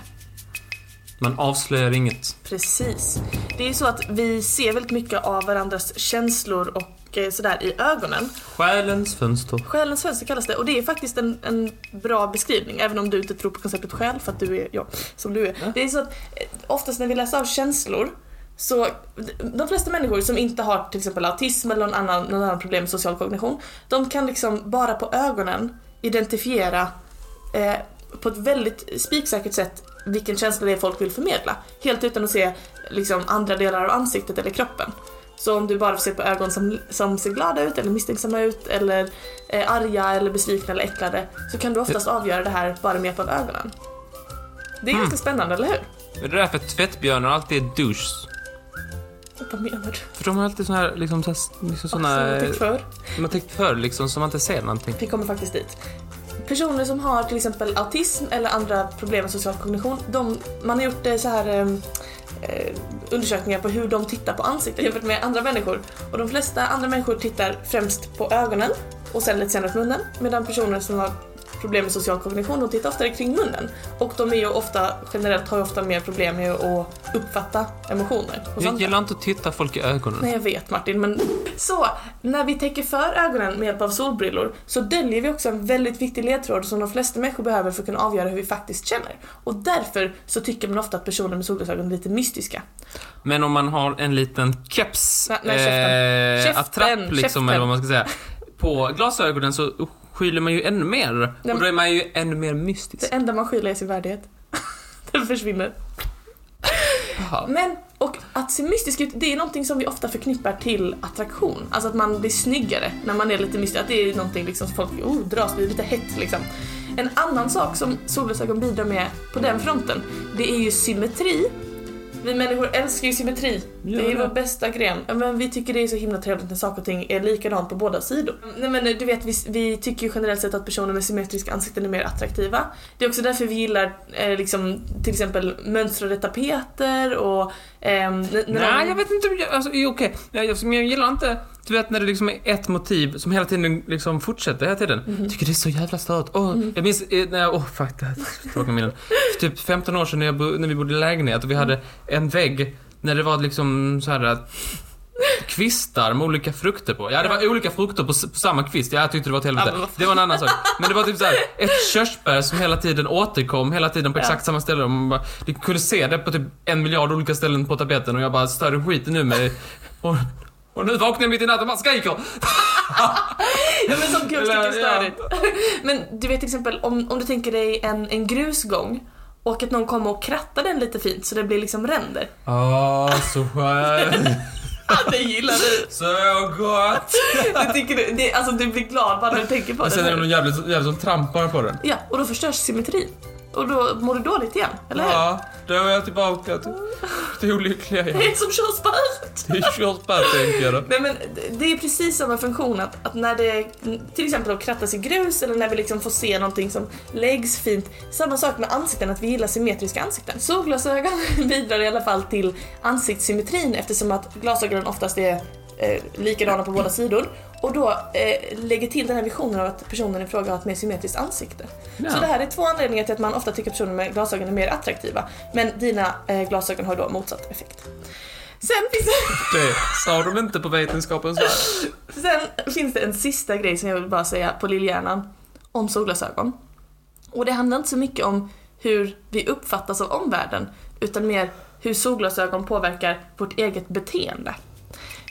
A: Man avslöjar inget.
B: Precis. Det är ju så att vi ser väldigt mycket av varandras känslor och mycket sådär i ögonen.
A: Själens fönster.
B: Själens fönster kallas det och det är faktiskt en, en bra beskrivning även om du inte tror på konceptet själ för att du är ja, som du är.
A: Ja.
B: Det är så att eh, oftast när vi läser av känslor så de flesta människor som inte har till exempel autism eller någon annan, någon annan problem med social kognition de kan liksom bara på ögonen identifiera eh, på ett väldigt spiksäkert sätt vilken känsla det är folk vill förmedla. Helt utan att se liksom, andra delar av ansiktet eller kroppen. Så om du bara ser på ögon som, som ser glada ut eller misstänksamma ut eller eh, arga eller besvikna eller äcklade så kan du oftast avgöra det här bara med hjälp av ögonen. Det är
A: Mm.
B: ganska spännande, eller hur?
A: Det är därför tvättbjörnar alltid är douches.
B: Vad menar du?
A: För de har alltid såna här, liksom, så här, liksom såna...
B: Alltså, tack för.
A: De har täckt för liksom, så man inte ser någonting.
B: Vi kommer faktiskt dit. Personer som har till exempel autism eller andra problem med social kognition, de, man har gjort eh, så här eh, eh, undersökningar på hur de tittar på ansikten jämfört med andra människor. Och de flesta andra människor tittar främst på ögonen och sen lite senare på munnen. Medan personer som har problem med social kognition, de tittar oftare kring munnen. Och de är ju ofta, generellt har ju ofta mer problem med att uppfatta emotioner. hos
A: Jag
B: andra.
A: gillar inte att titta folk i ögonen.
B: Nej jag vet Martin men... Så, när vi täcker för ögonen med hjälp av solbrillor så döljer vi också en väldigt viktig ledtråd som de flesta människor behöver för att kunna avgöra hur vi faktiskt känner. Och därför så tycker man ofta att personer med solglasögon är lite mystiska.
A: Men om man har en liten keps,
B: Nej, nej, käften. Käften,
A: attrapp liksom,
B: käften.
A: eller vad man ska säga, på glasögonen så skyller man ju ännu mer.
B: men-
A: Och då är man ju ännu mer mystisk.
B: Det enda man skyller är sin värdighet. Den försvinner.
A: Jaha.
B: Men, och att se mystisk ut, det är någonting som vi ofta förknippar till attraktion. Alltså att man blir snyggare när man är lite mystisk. Att det är någonting liksom som folk oh, dras vid, lite hett liksom. En annan sak som solglasögon bidrar med på den fronten, det är ju symmetri. Vi människor älskar ju symmetri.
A: Gör
B: det är
A: det.
B: vår bästa gren. Ja, Men vi tycker det är så himla trevligt när saker och ting är likadant på båda sidor. Mm, Nej men eh, du vet, vi, vi tycker ju generellt sett att personer med symmetriska ansikten är mer attraktiva. Det är också därför vi gillar eh, liksom, till exempel mönstrade tapeter och... ehm, n- när
A: Nej,
B: man-
A: jag vet inte. om jag- Alltså, jo, okej. Nej, jag- Men jag gillar inte, du vet när det liksom är ett motiv som hela tiden liksom fortsätter hela tiden. Jag tycker det är så jävla stört. Åh, Jag minns eh, när jag, åh fuck det här är tråkiga minnen. För typ 15 år sedan när, jag, bo- när vi bodde i lägenhet och vi hade en vägg när det var liksom så här att kvistar med olika frukter på. Ja, det var olika frukter på, s- på samma kvist. Ja, jag tyckte det var ett helvete.
B: Ja, men vad fan.
A: det var en annan sak. Men det var typ så här ett körsbär som hela tiden återkom, hela tiden på
B: Ja.
A: exakt samma ställe. Och man bara, du kunde se det på typ en miljard olika ställen på tapeten och jag bara större skiten nu med och, och nu vaknar jag mitt i natten och bara skriker.
B: Ja men som gud tycker
A: Eller,
B: jag är störigt. Men du vet till exempel om, om du tänker dig en, en grusgång och att någon kommer och krattar den lite fint så det blir liksom ränder.
A: Åh, så skönt.
B: Ah, det gillar du!
A: Så gott.
B: Det, tycker du det, alltså, du blir glad bara när du tänker på
A: Och sen är
B: det.
A: det någon jävligt, jävligt som trampar på den.
B: Ja, och då förstörs symmetrin. Och då mår du dåligt igen, eller hur?
A: Ja, då är jag tillbaka till det olyckliga
B: Det
A: jag.
B: är som körsbäret!
A: Det är körsbär tänker jag då.
B: Nej men det- det är precis samma funktion att, att när det till exempel då krattas i grus eller när vi liksom får se någonting som läggs fint. Samma sak med ansikten, att vi gillar symmetriska ansikten. Solglasögon bidrar i alla fall till ansiktssymmetrin eftersom att glasögonen oftast är eh, likadana på båda sidor och då eh, lägger till den här visionen av att personen i fråga har ett mer symmetriskt ansikte.
A: Ja.
B: Så det här är två anledningar till att man ofta tycker personer med glasögon är mer attraktiva. Men dina eh, glasögon har då motsatt effekt. Sen finns det
A: Det sa de inte på Vetenskapens värld.
B: Sen finns det en sista grej som jag vill bara säga på lillhjärnan om solglasögon. Och det handlar inte så mycket om hur vi uppfattas av omvärlden utan mer hur solglasögon påverkar vårt eget beteende.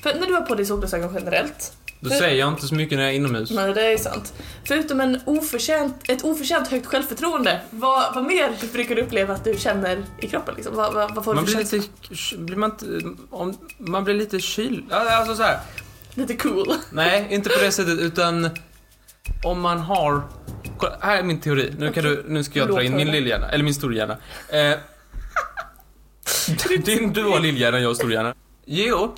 B: För när du har på dig solglasögon generellt
A: Då säger jag inte så mycket när jag är inomhus.
B: Nej, det är sant. Förutom en oförtjänt, ett oförtjänt högt självförtroende, vad, vad mer brukar du uppleva att du känner i kroppen? Liksom? Vad, vad, vad får
A: Man
B: du för
A: blir
B: lite...
A: lite... Blir man, inte- om, man blir lite kyl... ja, Alltså så här.
B: lite cool?
A: Nej, inte på det sättet utan om man har... Kolla, här är min teori. Nu, kan du, nu ska jag dra in min
B: Låt höra.
A: lillhjärna, eller min storhjärna. Eh, din, du har lillhjärnan, jag har storhjärnan. Jo,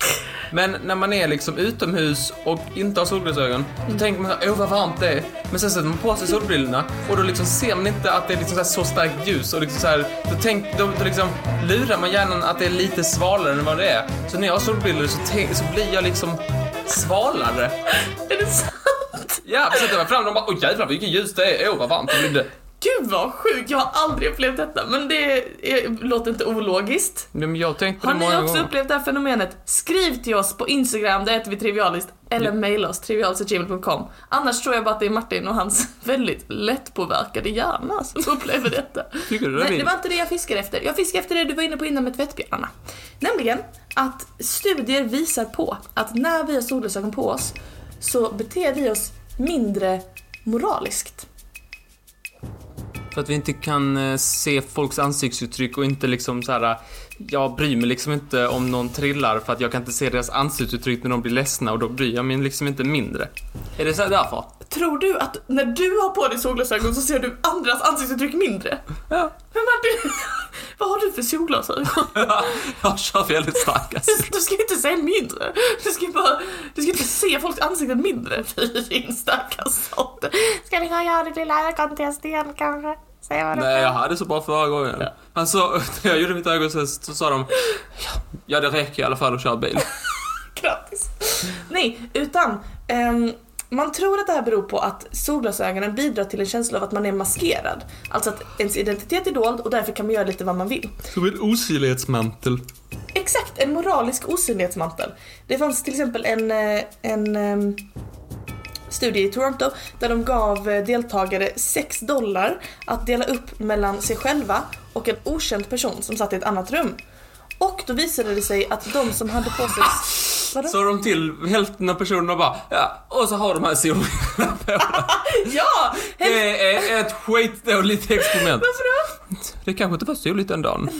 A: men när man är liksom utomhus och inte har solglasögon, då tänker man såhär, åh vad varmt det är. Men sen sätter man på sig solbrillorna och då liksom ser man inte att det är liksom så, här så starkt ljus och liksom så här, då, tänk, då, då liksom lurar man hjärnan att det är lite svalare än vad det är. Så när jag har solbrillor så, tänk, så blir jag liksom svalare.
B: Är det sant?
A: Ja, vi sätter mig fram och bara åh jävlar vilket ljus det är, åh vad varmt det blir.
B: Gud vad sjukt, jag har aldrig upplevt detta men det är, låter inte ologiskt.
A: Men jag tänkte
B: Har
A: det
B: ni
A: många
B: också
A: gånger.
B: upplevt det här fenomenet? Skriv till oss på Instagram, där heter vi Trivialiskt, Eller mejla oss trivialsetgmail.com. Annars tror jag bara att det är Martin och hans väldigt lättpåverkade hjärna som upplever detta.
A: Tycker du det?
B: Nej, det
A: Liv?
B: var inte det jag fiskade efter. Jag fiskade efter det du var inne på innan med tvättbjörnarna. Nämligen att studier visar på att när vi har solglasögon på oss så beter vi oss mindre moraliskt.
A: För att vi inte kan eh, se folks ansiktsuttryck och inte liksom så här. Jag bryr mig liksom inte om någon trillar för att jag kan inte se deras ansiktsuttryck när de blir ledsna och då bryr jag mig liksom inte mindre. Är det så här därför?
B: Tror du att när du har på dig solglasögon så ser du andras ansiktsuttryck mindre?
A: Ja.
B: Men Martin, vad har du för solglasögon?
A: jag kör väldigt starkt alltså.
B: Du ska inte se mindre. Du ska bara, du ska inte se folks ansikten mindre. Fy din stackars sånt.
C: Ska ni ha göra det till ögontest igen kanske? Säg vad du
A: Nej, jag hade så bra förra gången. Men så, när jag gjorde mitt ögontest så sa de "Ja, Ja, det räcker i alla fall att köra bil.
B: Grattis. Nej, utan ehm, man tror att det här beror på att solglasögonen bidrar till en känsla av att man är maskerad. Alltså att ens identitet är dold och därför kan man göra lite vad man vill.
A: Som en osynlighetsmantel.
B: Exakt, en moralisk osynlighetsmantel. Det fanns till exempel en, eh, en ehm, studie i Toronto där de gav eh, deltagare 6 dollar att dela upp mellan sig själva och en okänd person som satt i ett annat rum. Och då visade det sig att de som hade på sig... Vadå?
A: Så de till hälften av personerna bara, ja, och så har de här solbrillorna på.
B: Ja! hel-
A: Det är ett skitdåligt experiment.
B: Varför då?
A: Det kanske inte var soligt den dagen.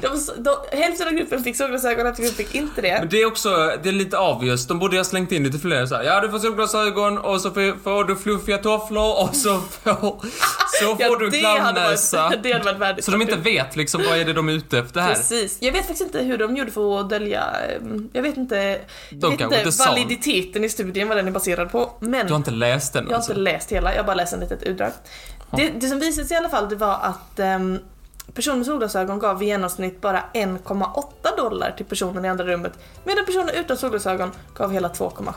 B: De, de, hälften av gruppen fick solglasögon, hälften av gruppen fick inte det.
A: Men det är också, det är lite obvious. De borde ha slängt in lite fler så här. Ja, du får solglasögon och så får, får du fluffiga tofflor och så får, så får du
B: hade
A: clownnäsa.
B: varit, det hade varit värdigt.
A: Så de inte vet liksom vad är det de är ute efter här.
B: Precis. Jag vet faktiskt inte hur de gjorde för att dölja... ehm, Jag vet inte, jag vet
A: kanske
B: inte
A: inte sa.
B: validiteten i studien, vad den är baserad på. Men
A: Du har inte läst den alltså?
B: jag har inte läst hela, jag har bara läst en litet utdrag. Det, det som visade sig i alla fall det var att ehm, personer med solglasögon gav i genomsnitt bara 1,8 dollar till personen i andra rummet medan personer utan solglasögon gav hela 2,7.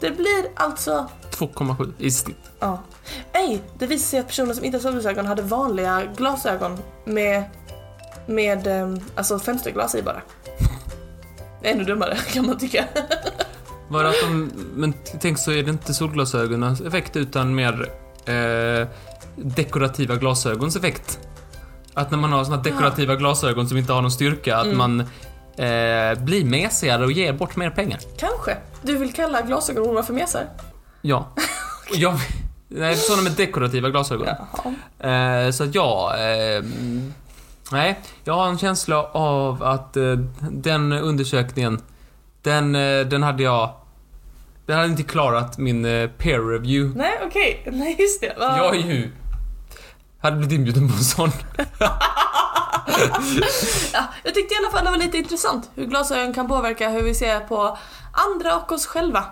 B: Det blir alltså
A: 2,7 i snitt.
B: Ja. Nej, det visade sig att personer som inte har solglasögon hade vanliga glasögon med, med ehm, alltså fönsterglas i bara. Ännu dummare kan man tycka.
A: Var det att de, men t- tänk så är det inte solglasögonens effekt utan mer eh, dekorativa glasögons effekt. Att när man har såna här dekorativa glasögon som inte har någon styrka, att man eh, blir mesigare och ger bort mer pengar.
B: Kanske. Du vill kalla glasögonhorn för mesar?
A: Ja. Och jag, nej, sådana med dekorativa glasögon.
B: Jaha.
A: Eh, så att jag... Eh, mm, nej, jag har en känsla av att eh, den undersökningen, den, eh, den hade jag... Den hade inte klarat min eh, peer review.
B: Nej, okej. Nej, just det. Vad-
A: Jag är ju... Hade blivit inbjuden på en sån.
B: Ja, jag tyckte i alla fall det var lite intressant hur glasögon kan påverka hur vi ser på andra och oss själva.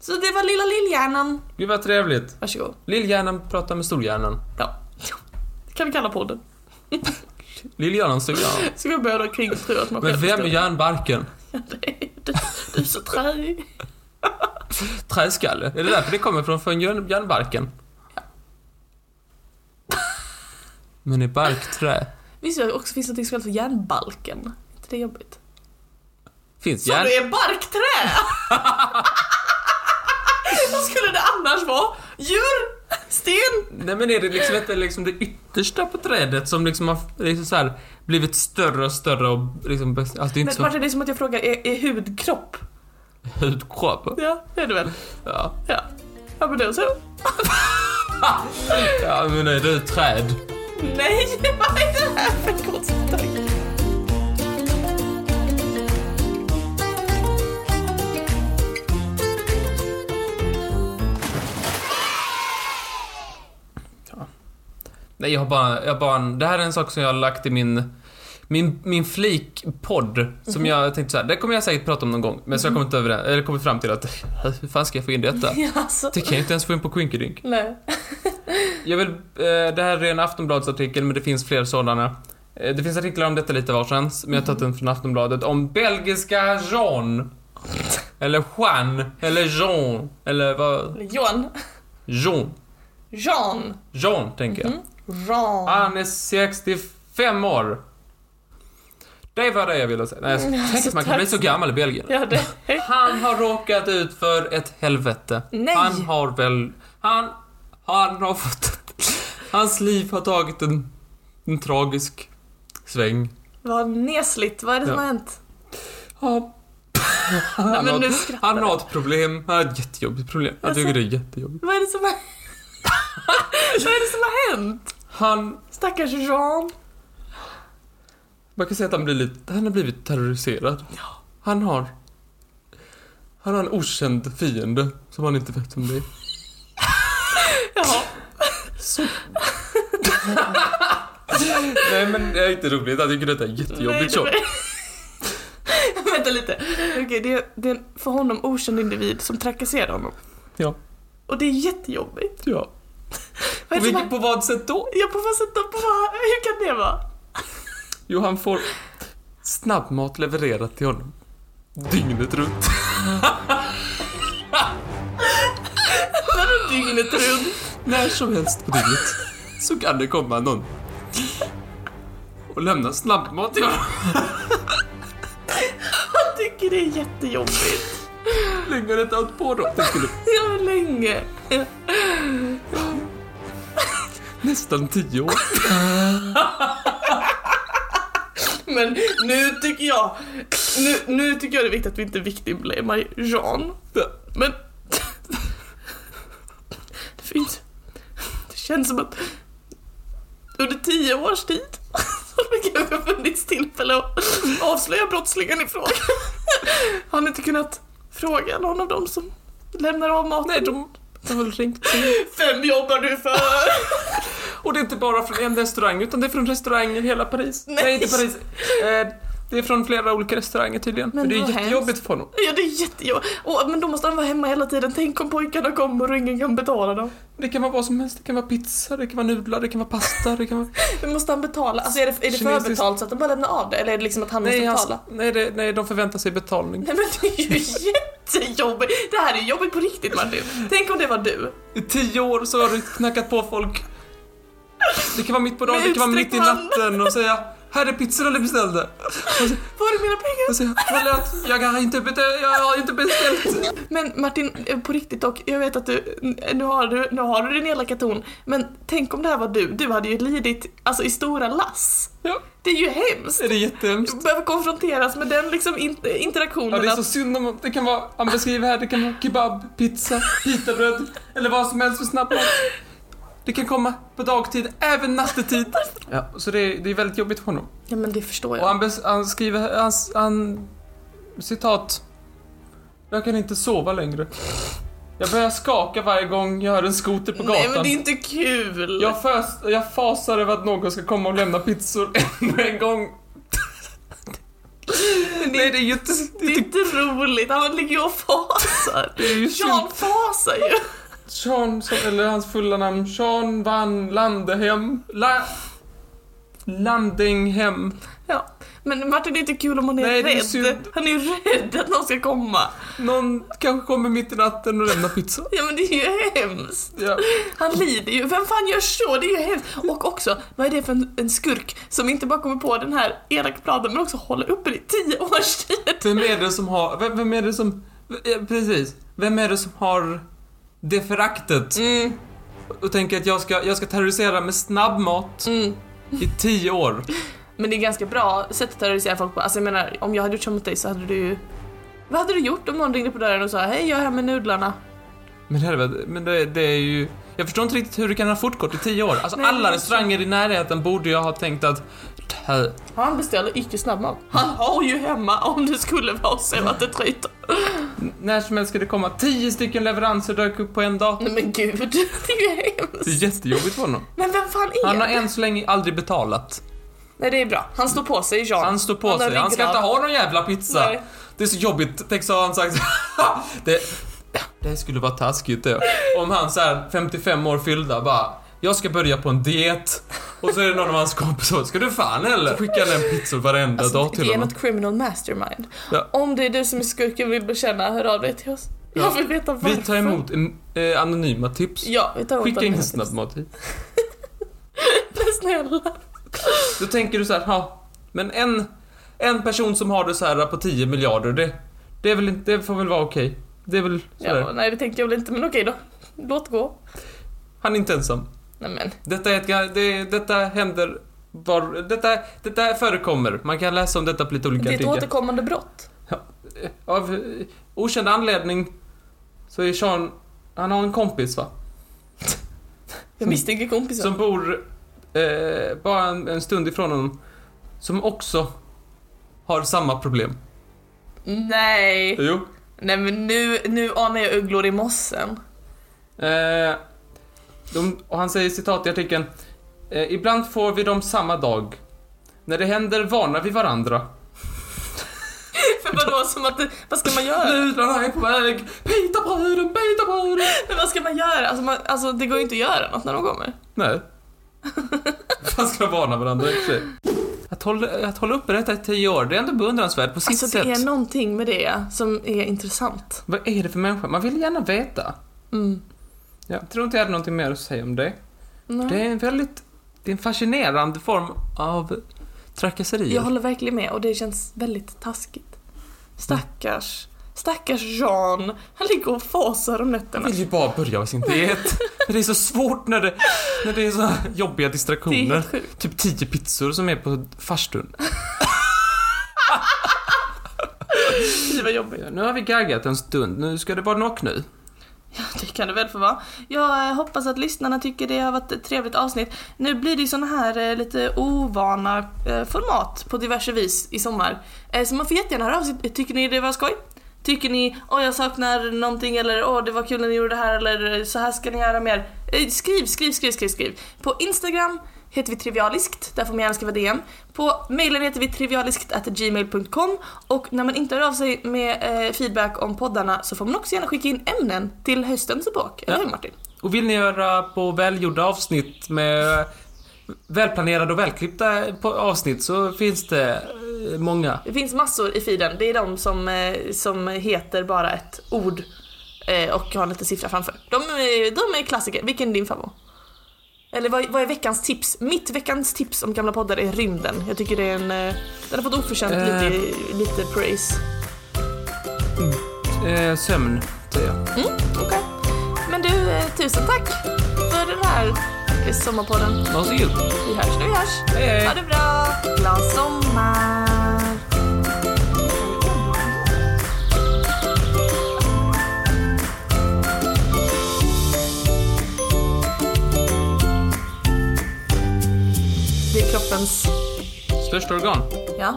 B: Så det var lilla lillhjärnan.
A: Gud vad trevligt.
B: Varsågod.
A: Lillhjärnan pratar med storhjärnan.
B: Ja. Det kan vi kalla podden.
A: Lillhjärnan, storhjärnan.
B: Ska vi börja kring tro att man
A: Men
B: själv
A: vem
B: förstår.
A: är järnbarken?
B: Nej, du, du är så träig.
A: Träskalle? Är det därför det kommer från från järn- järnbarken? Men är bark trä?
B: Visst jag också finns något som kallas för järnbalken? Är inte det jobbigt?
A: Finns
B: Så
A: järn...
B: det är barkträ! Vad skulle det annars vara? Djur? Sten?
A: Nej men är det liksom inte liksom det yttersta på trädet som liksom har liksom så här, blivit större och större och liksom... bäst- Alltså det är inte
B: Men
A: som
B: Martin, det är som att jag frågar, är, är hud kropp?
A: hudkropp.
B: Ja, det är det väl?
A: Ja.
B: Ja. Ja men då så.
A: ja, men är det träd?
B: Nej, vad är det här för konstigt? tack.
A: Nej, jag har bara, jag har bara en, Det här är en sak som jag har lagt i min... Min, min flik-podd, som jag tänkte så här, det kommer jag säkert prata om någon gång, men så jag kommer inte över det, eller kommer fram till att, hur fan ska jag få in detta?
B: Ja, alltså.
A: Det kan jag inte ens få in på Quinkydink.
B: Nej.
A: Jag vill, eh, det här är en Aftonbladsartikel, men det finns fler sådana. Eh, det finns artiklar om detta lite varstans, men jag har tagit en från Aftonbladet om belgiska Jean. Eller Jean, eller Jean, eller vad...
B: Johan.
A: Jean.
B: Jean.
A: Ah. Jean, tänker jag.
B: Jean.
A: Han är 65 år. Det var det jag ville säga. Nej,
B: Mm,
A: jag tänk
B: alltså,
A: att man kan
B: tack
A: bli så
B: så-
A: gammal i Belgien.
B: Ja, det...
A: Han har råkat ut för ett helvete.
B: Nej.
A: Han har väl... Han, han har fått... Hans liv har tagit en, en tragisk sväng.
B: Vad nesligt, vad är det som
A: Ja.
B: har hänt?
A: Ja.
B: Nej,
A: Han,
B: men
A: har,
B: nu
A: ett-
B: skrattar Alltså-
A: han har
B: jag.
A: ett problem. Han har ett jättejobbigt problem. Jag tycker det är jättejobbigt.
B: Vad är det som har... vad är det som har hänt?
A: Han...
B: Stackars Jean.
A: Man kan säga att han, blir lite, han har blivit terroriserad. Han har... Han har en okänd fiende som han inte vet om det är.
B: Jaha.
A: Nej men det är inte roligt. Jag tycker detta är jättejobbigt.
B: Nej, det var- Vänta lite. Okej, det, är, det är en för honom okänd individ som trakasserar honom.
A: Ja.
B: Och det är jättejobbigt.
A: Ja.
B: Vad är det som
A: Vilket,
B: har...
A: på vad sätt då?
B: Ja, på vad sätt då? På vad... Hur kan det vara?
A: Jo, han får snabbmat levererat till honom. Dygnet runt.
B: Vadå dygnet runt?
A: När som helst på dygnet så kan det komma någon och lämna snabbmat till honom.
B: Han tycker det är jättejobbigt.
A: Lägger det allt på dem. Det skulle
B: Ja, men länge. Ja.
A: nästan tio år.
B: Men nu tycker jag... Nu, nu tycker jag det är viktigt att vi inte victimblamar Jean. Men... Det finns... Det känns som att under tio års tid så har det kanske funnits tillfälle att avslöja brottslingen i fråga. Har ni inte kunnat fråga någon av dem som lämnar av maten?
A: Nej, de har väl ringt.
B: Vem jobbar du för?
A: Och det är inte bara från en restaurang, utan det är från restauranger i hela Paris. Nej,
B: Nej.
A: inte Paris. Eh, det är från flera olika restauranger tydligen.
B: Men
A: Men det är
B: vad hemskt.
A: jättejobbigt för honom.
B: Ja, det är jättejobbigt. Åh, Men då måste han vara hemma hela tiden. Tänk om pojkarna kommer och ingen kan betala dem.
A: Det kan vara vad som helst. Det kan vara pizza, det kan vara nudlar, det kan vara pasta, det kan vara...
B: Men måste han betala? Alltså är det, är det
A: Kinesiskt-
B: förbetalt så att de bara lämnar av det? Eller är det liksom att han måste
A: Nej,
B: betala?
A: han, nej, det, nej, de förväntar sig betalning.
B: Nej men det är ju jättejobbigt! Det här är jobbigt på riktigt Martin. Tänk om det var du.
A: I tio år så har du knackat på folk. Det kan vara mitt på dagen,
B: Med
A: det kan vara mitt i
B: utsträckt hand.
A: natten och säga Här är pizzorna du beställde.
B: Var är mina pengar?
A: Och säga Förlåt, jag har inte, bete- jag har inte beställt.
B: Men Martin, eh, på riktigt dock. Jag vet att du, n- nu har du, nu har du din elaka ton. Men tänk om det här var du. Du hade ju lidit, alltså i stora lass.
A: Ja,
B: Det är ju hemskt!
A: är det jättehemskt?
B: Du behöver konfronteras med den liksom in, interaktionen.
A: Ja, det är
B: att-
A: så synd om Det kan vara, han beskriver här, det kan vara kebab, pizza, pitabröd eller vad som helst för snabbmat. Det kan komma på dagtid, även nattetid. Ja, så det är, det är väldigt jobbigt för honom.
B: Ja men det förstår
A: Och
B: jag.
A: han, bes- han skriver, han, han... Citat. Jag kan inte sova längre. Jag börjar skaka varje gång jag hör en skoter på
B: Nej
A: gatan.
B: men det är inte kul!
A: jag, fös- jag fasar över att någon ska komma och lämna pizzor ännu en gång. Nej, det är ju inte...
B: Det är inte roligt, han ligger ju och fasar.
A: Det är ju
B: Jan fasar ju.
A: Sean, som- eller hans fulla namn, Sean Van Landehem. La- Landinghem.
B: Ja. Men Martin, det är inte kul om han är
A: Nej, det är
B: rädd.
A: synd.
B: Han är ju rädd att någon ska komma.
A: Någon kanske kommer mitt i natten och lämnar pizza.
B: Ja men det är ju hemskt.
A: Ja.
B: Han lider ju. Vem fan gör så? Det är ju hemskt. Och också, vad är det för en, en skurk som inte bara kommer på den här elaka planen men också håller uppe det i tio års tid?
A: Vem är det som har... Vem, vem är det som... ja, Precis. Vem är det som har det föraktet
B: Mm,
A: och tänker att jag ska, jag ska terrorisera med snabbmat
B: mm.
A: i tio år?
B: Men det är ganska bra sätt att terrorisera folk på. Alltså jag menar, om jag hade gjort så mot dig så hade du ju... Vad hade du gjort om någon ringde på dörren och sa hej jag är här med nudlarna?
A: Men helvete, men det, det är ju... Jag förstår inte riktigt hur det kan ha fortgått i tio år. Alltså
B: Nej, det
A: alla
B: är
A: restauranger i närheten borde jag ha tänkt att... "Det här-
B: Han beställer icke snabbmat. Han har ju hemma om det skulle vara så att det tryter.
A: När som helst ska det komma tio stycken leveranser dök upp på en dag.
B: Nej men gud, det är ju
A: Det
B: hemskt.
A: är jättejobbigt för honom.
B: Men vem fan är
A: Han har
B: det?
A: än så länge aldrig betalat.
B: Nej det är bra, han står på sig Jean.
A: Han står på
B: har
A: sig. Han ska inte
B: ryggrad.
A: ha någon jävla pizza.
B: Nej.
A: Det är så jobbigt. Tänk så har han sagt... det, det skulle vara taskigt det. Om han så här 55 år fyllda bara... Jag ska börja på en diet. Och så är det någon av hans kompisar. Ska du fan eller? Skickar en pizza varenda
B: Alltså,
A: dag till
B: det är
A: honom.
B: något criminal mastermind.
A: Ja.
B: Om det är du som är skurken vill bekänna, hör av dig till oss.
A: Ja.
B: Jag vill veta varför.
A: Vi tar emot eh, anonyma tips.
B: Ja, vi tar emot
A: Skicka
B: alla
A: ingen
B: tips.
A: snabbmat hit.
B: Snälla.
A: Då tänker du så här, ha, men en, en person som har det så här på 10 miljarder, det, det, är väl, inte- det får väl vara okej. Det är väl sådär.
B: Ja, nej det tänkte jag väl inte men okej då. Låt gå.
A: Han är inte ensam.
B: Nej men.
A: Detta, är ett, ga- det, detta händer... Var, detta, detta förekommer. Man kan läsa om detta på lite olika
B: Det är ett
A: artiklar.
B: återkommande brott.
A: Av eh, okänd anledning så är Sean... Han har en kompis va?
B: Jag misstänker kompisar.
A: Som bor eh, bara en, en stund ifrån honom. Som också har samma problem.
B: Nej.
A: Jo.
B: Nej men nu, nu anar jag ugglor i mossen.
A: Eh, de, och han säger citat i artikeln. Eh, Ibland får vi dem samma dag. När det händer varnar vi varandra.
B: För vadå som att, det- vad ska man göra?
A: Nudlarna är på väg! Pita bröden, pita bröden!
B: Men vad ska man göra? Alltså, man, alltså det går ju inte att göra något när de kommer. Alltså,
A: Nej. Fan ska de varna varandra i och för sig. Att hålla, att hålla uppe detta i tio år, det är ändå beundransvärt på sitt
B: Alltså
A: sätt.
B: det är någonting med det som är intressant.
A: Vad är det för människa? Man vill gärna veta.
B: Mm.
A: Ja, jag tror inte jag hade någonting mer att säga om det.
B: Nej.
A: Det är en väldigt... Det är en fascinerande form av trakasserier.
B: Jag håller verkligen med och det känns väldigt taskigt.
A: Mm.
B: Stackars, stackars Jean. Han ligger och fasar om
A: Jag
B: nätterna.
A: vill ju bara börja med sin diet. Men det är så svårt när det, när det är så här jobbiga
B: Det är
A: distraktioner.
B: helt sjukt.
A: Typ tio pizzor som är på farstun.
B: Fy vad jobbigt.
A: Ja, Nu har vi gaggat en stund, nu ska det vara nog nu.
B: Ja, det kan det väl få vara. Jag eh, hoppas att lyssnarna tycker det har varit ett trevligt avsnitt. Nu blir det ju såna här eh, lite ovana eh, format på diverse vis i sommar. Eh, så man får jättegärna höra av sig. Tycker ni det var skoj? Tycker ni åh jag saknar någonting eller åh det var kul när ni gjorde det här eller så här ska ni göra mer? Eh, skriv, skriv, skriv, skriv, skriv. På Instagram heter vi trivialiskt, där får man gärna skriva DM. På mejlen heter vi trivialiskt.gmail.com och när man inte hör av sig med eh, feedback om poddarna så får man också gärna skicka in ämnen till höstens bok. Eller
A: Ja.
B: hur Martin?
A: Och vill ni göra på välgjorda avsnitt med välplanerade och välklippta på- avsnitt så finns det eh, många.
B: Det finns massor i feeden, det är de som, eh, som heter bara ett ord eh, och har en liten siffra framför. De, är- de är klassiker, vilken är din favorit? Eller vad, vad är veckans tips? Mitt veckans tips om gamla poddar är rymden. Jag tycker det är en... eh, Den har fått oförtjänt
A: Eh.
B: lite, lite praise.
A: Eh, sömn, säger jag.
B: Mm, Okej. Men du, eh, tusen tack för den här eh, sommarpodden.
A: Varsågod.
B: Vi hörs när vi hörs.
A: Hej, hej.
B: Ha det bra! Glad sommar! Det är kroppens...
A: Största organ.
B: Ja.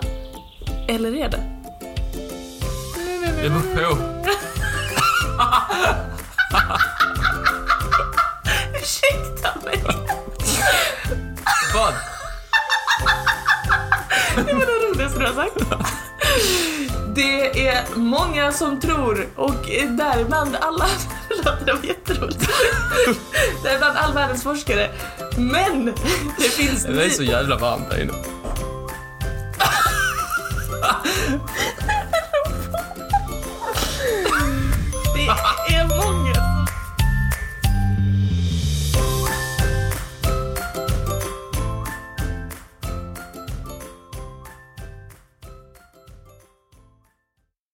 B: Eller är det?
A: Det beror på.
B: Ursäkta mig!
A: Vad?
B: Det var det roligaste du har sagt. Det är många som tror och däribland alla... Förlåt, det var jätteroligt. Däribland all världens forskare. Men det finns...
A: Det är så jävla varmt där inne.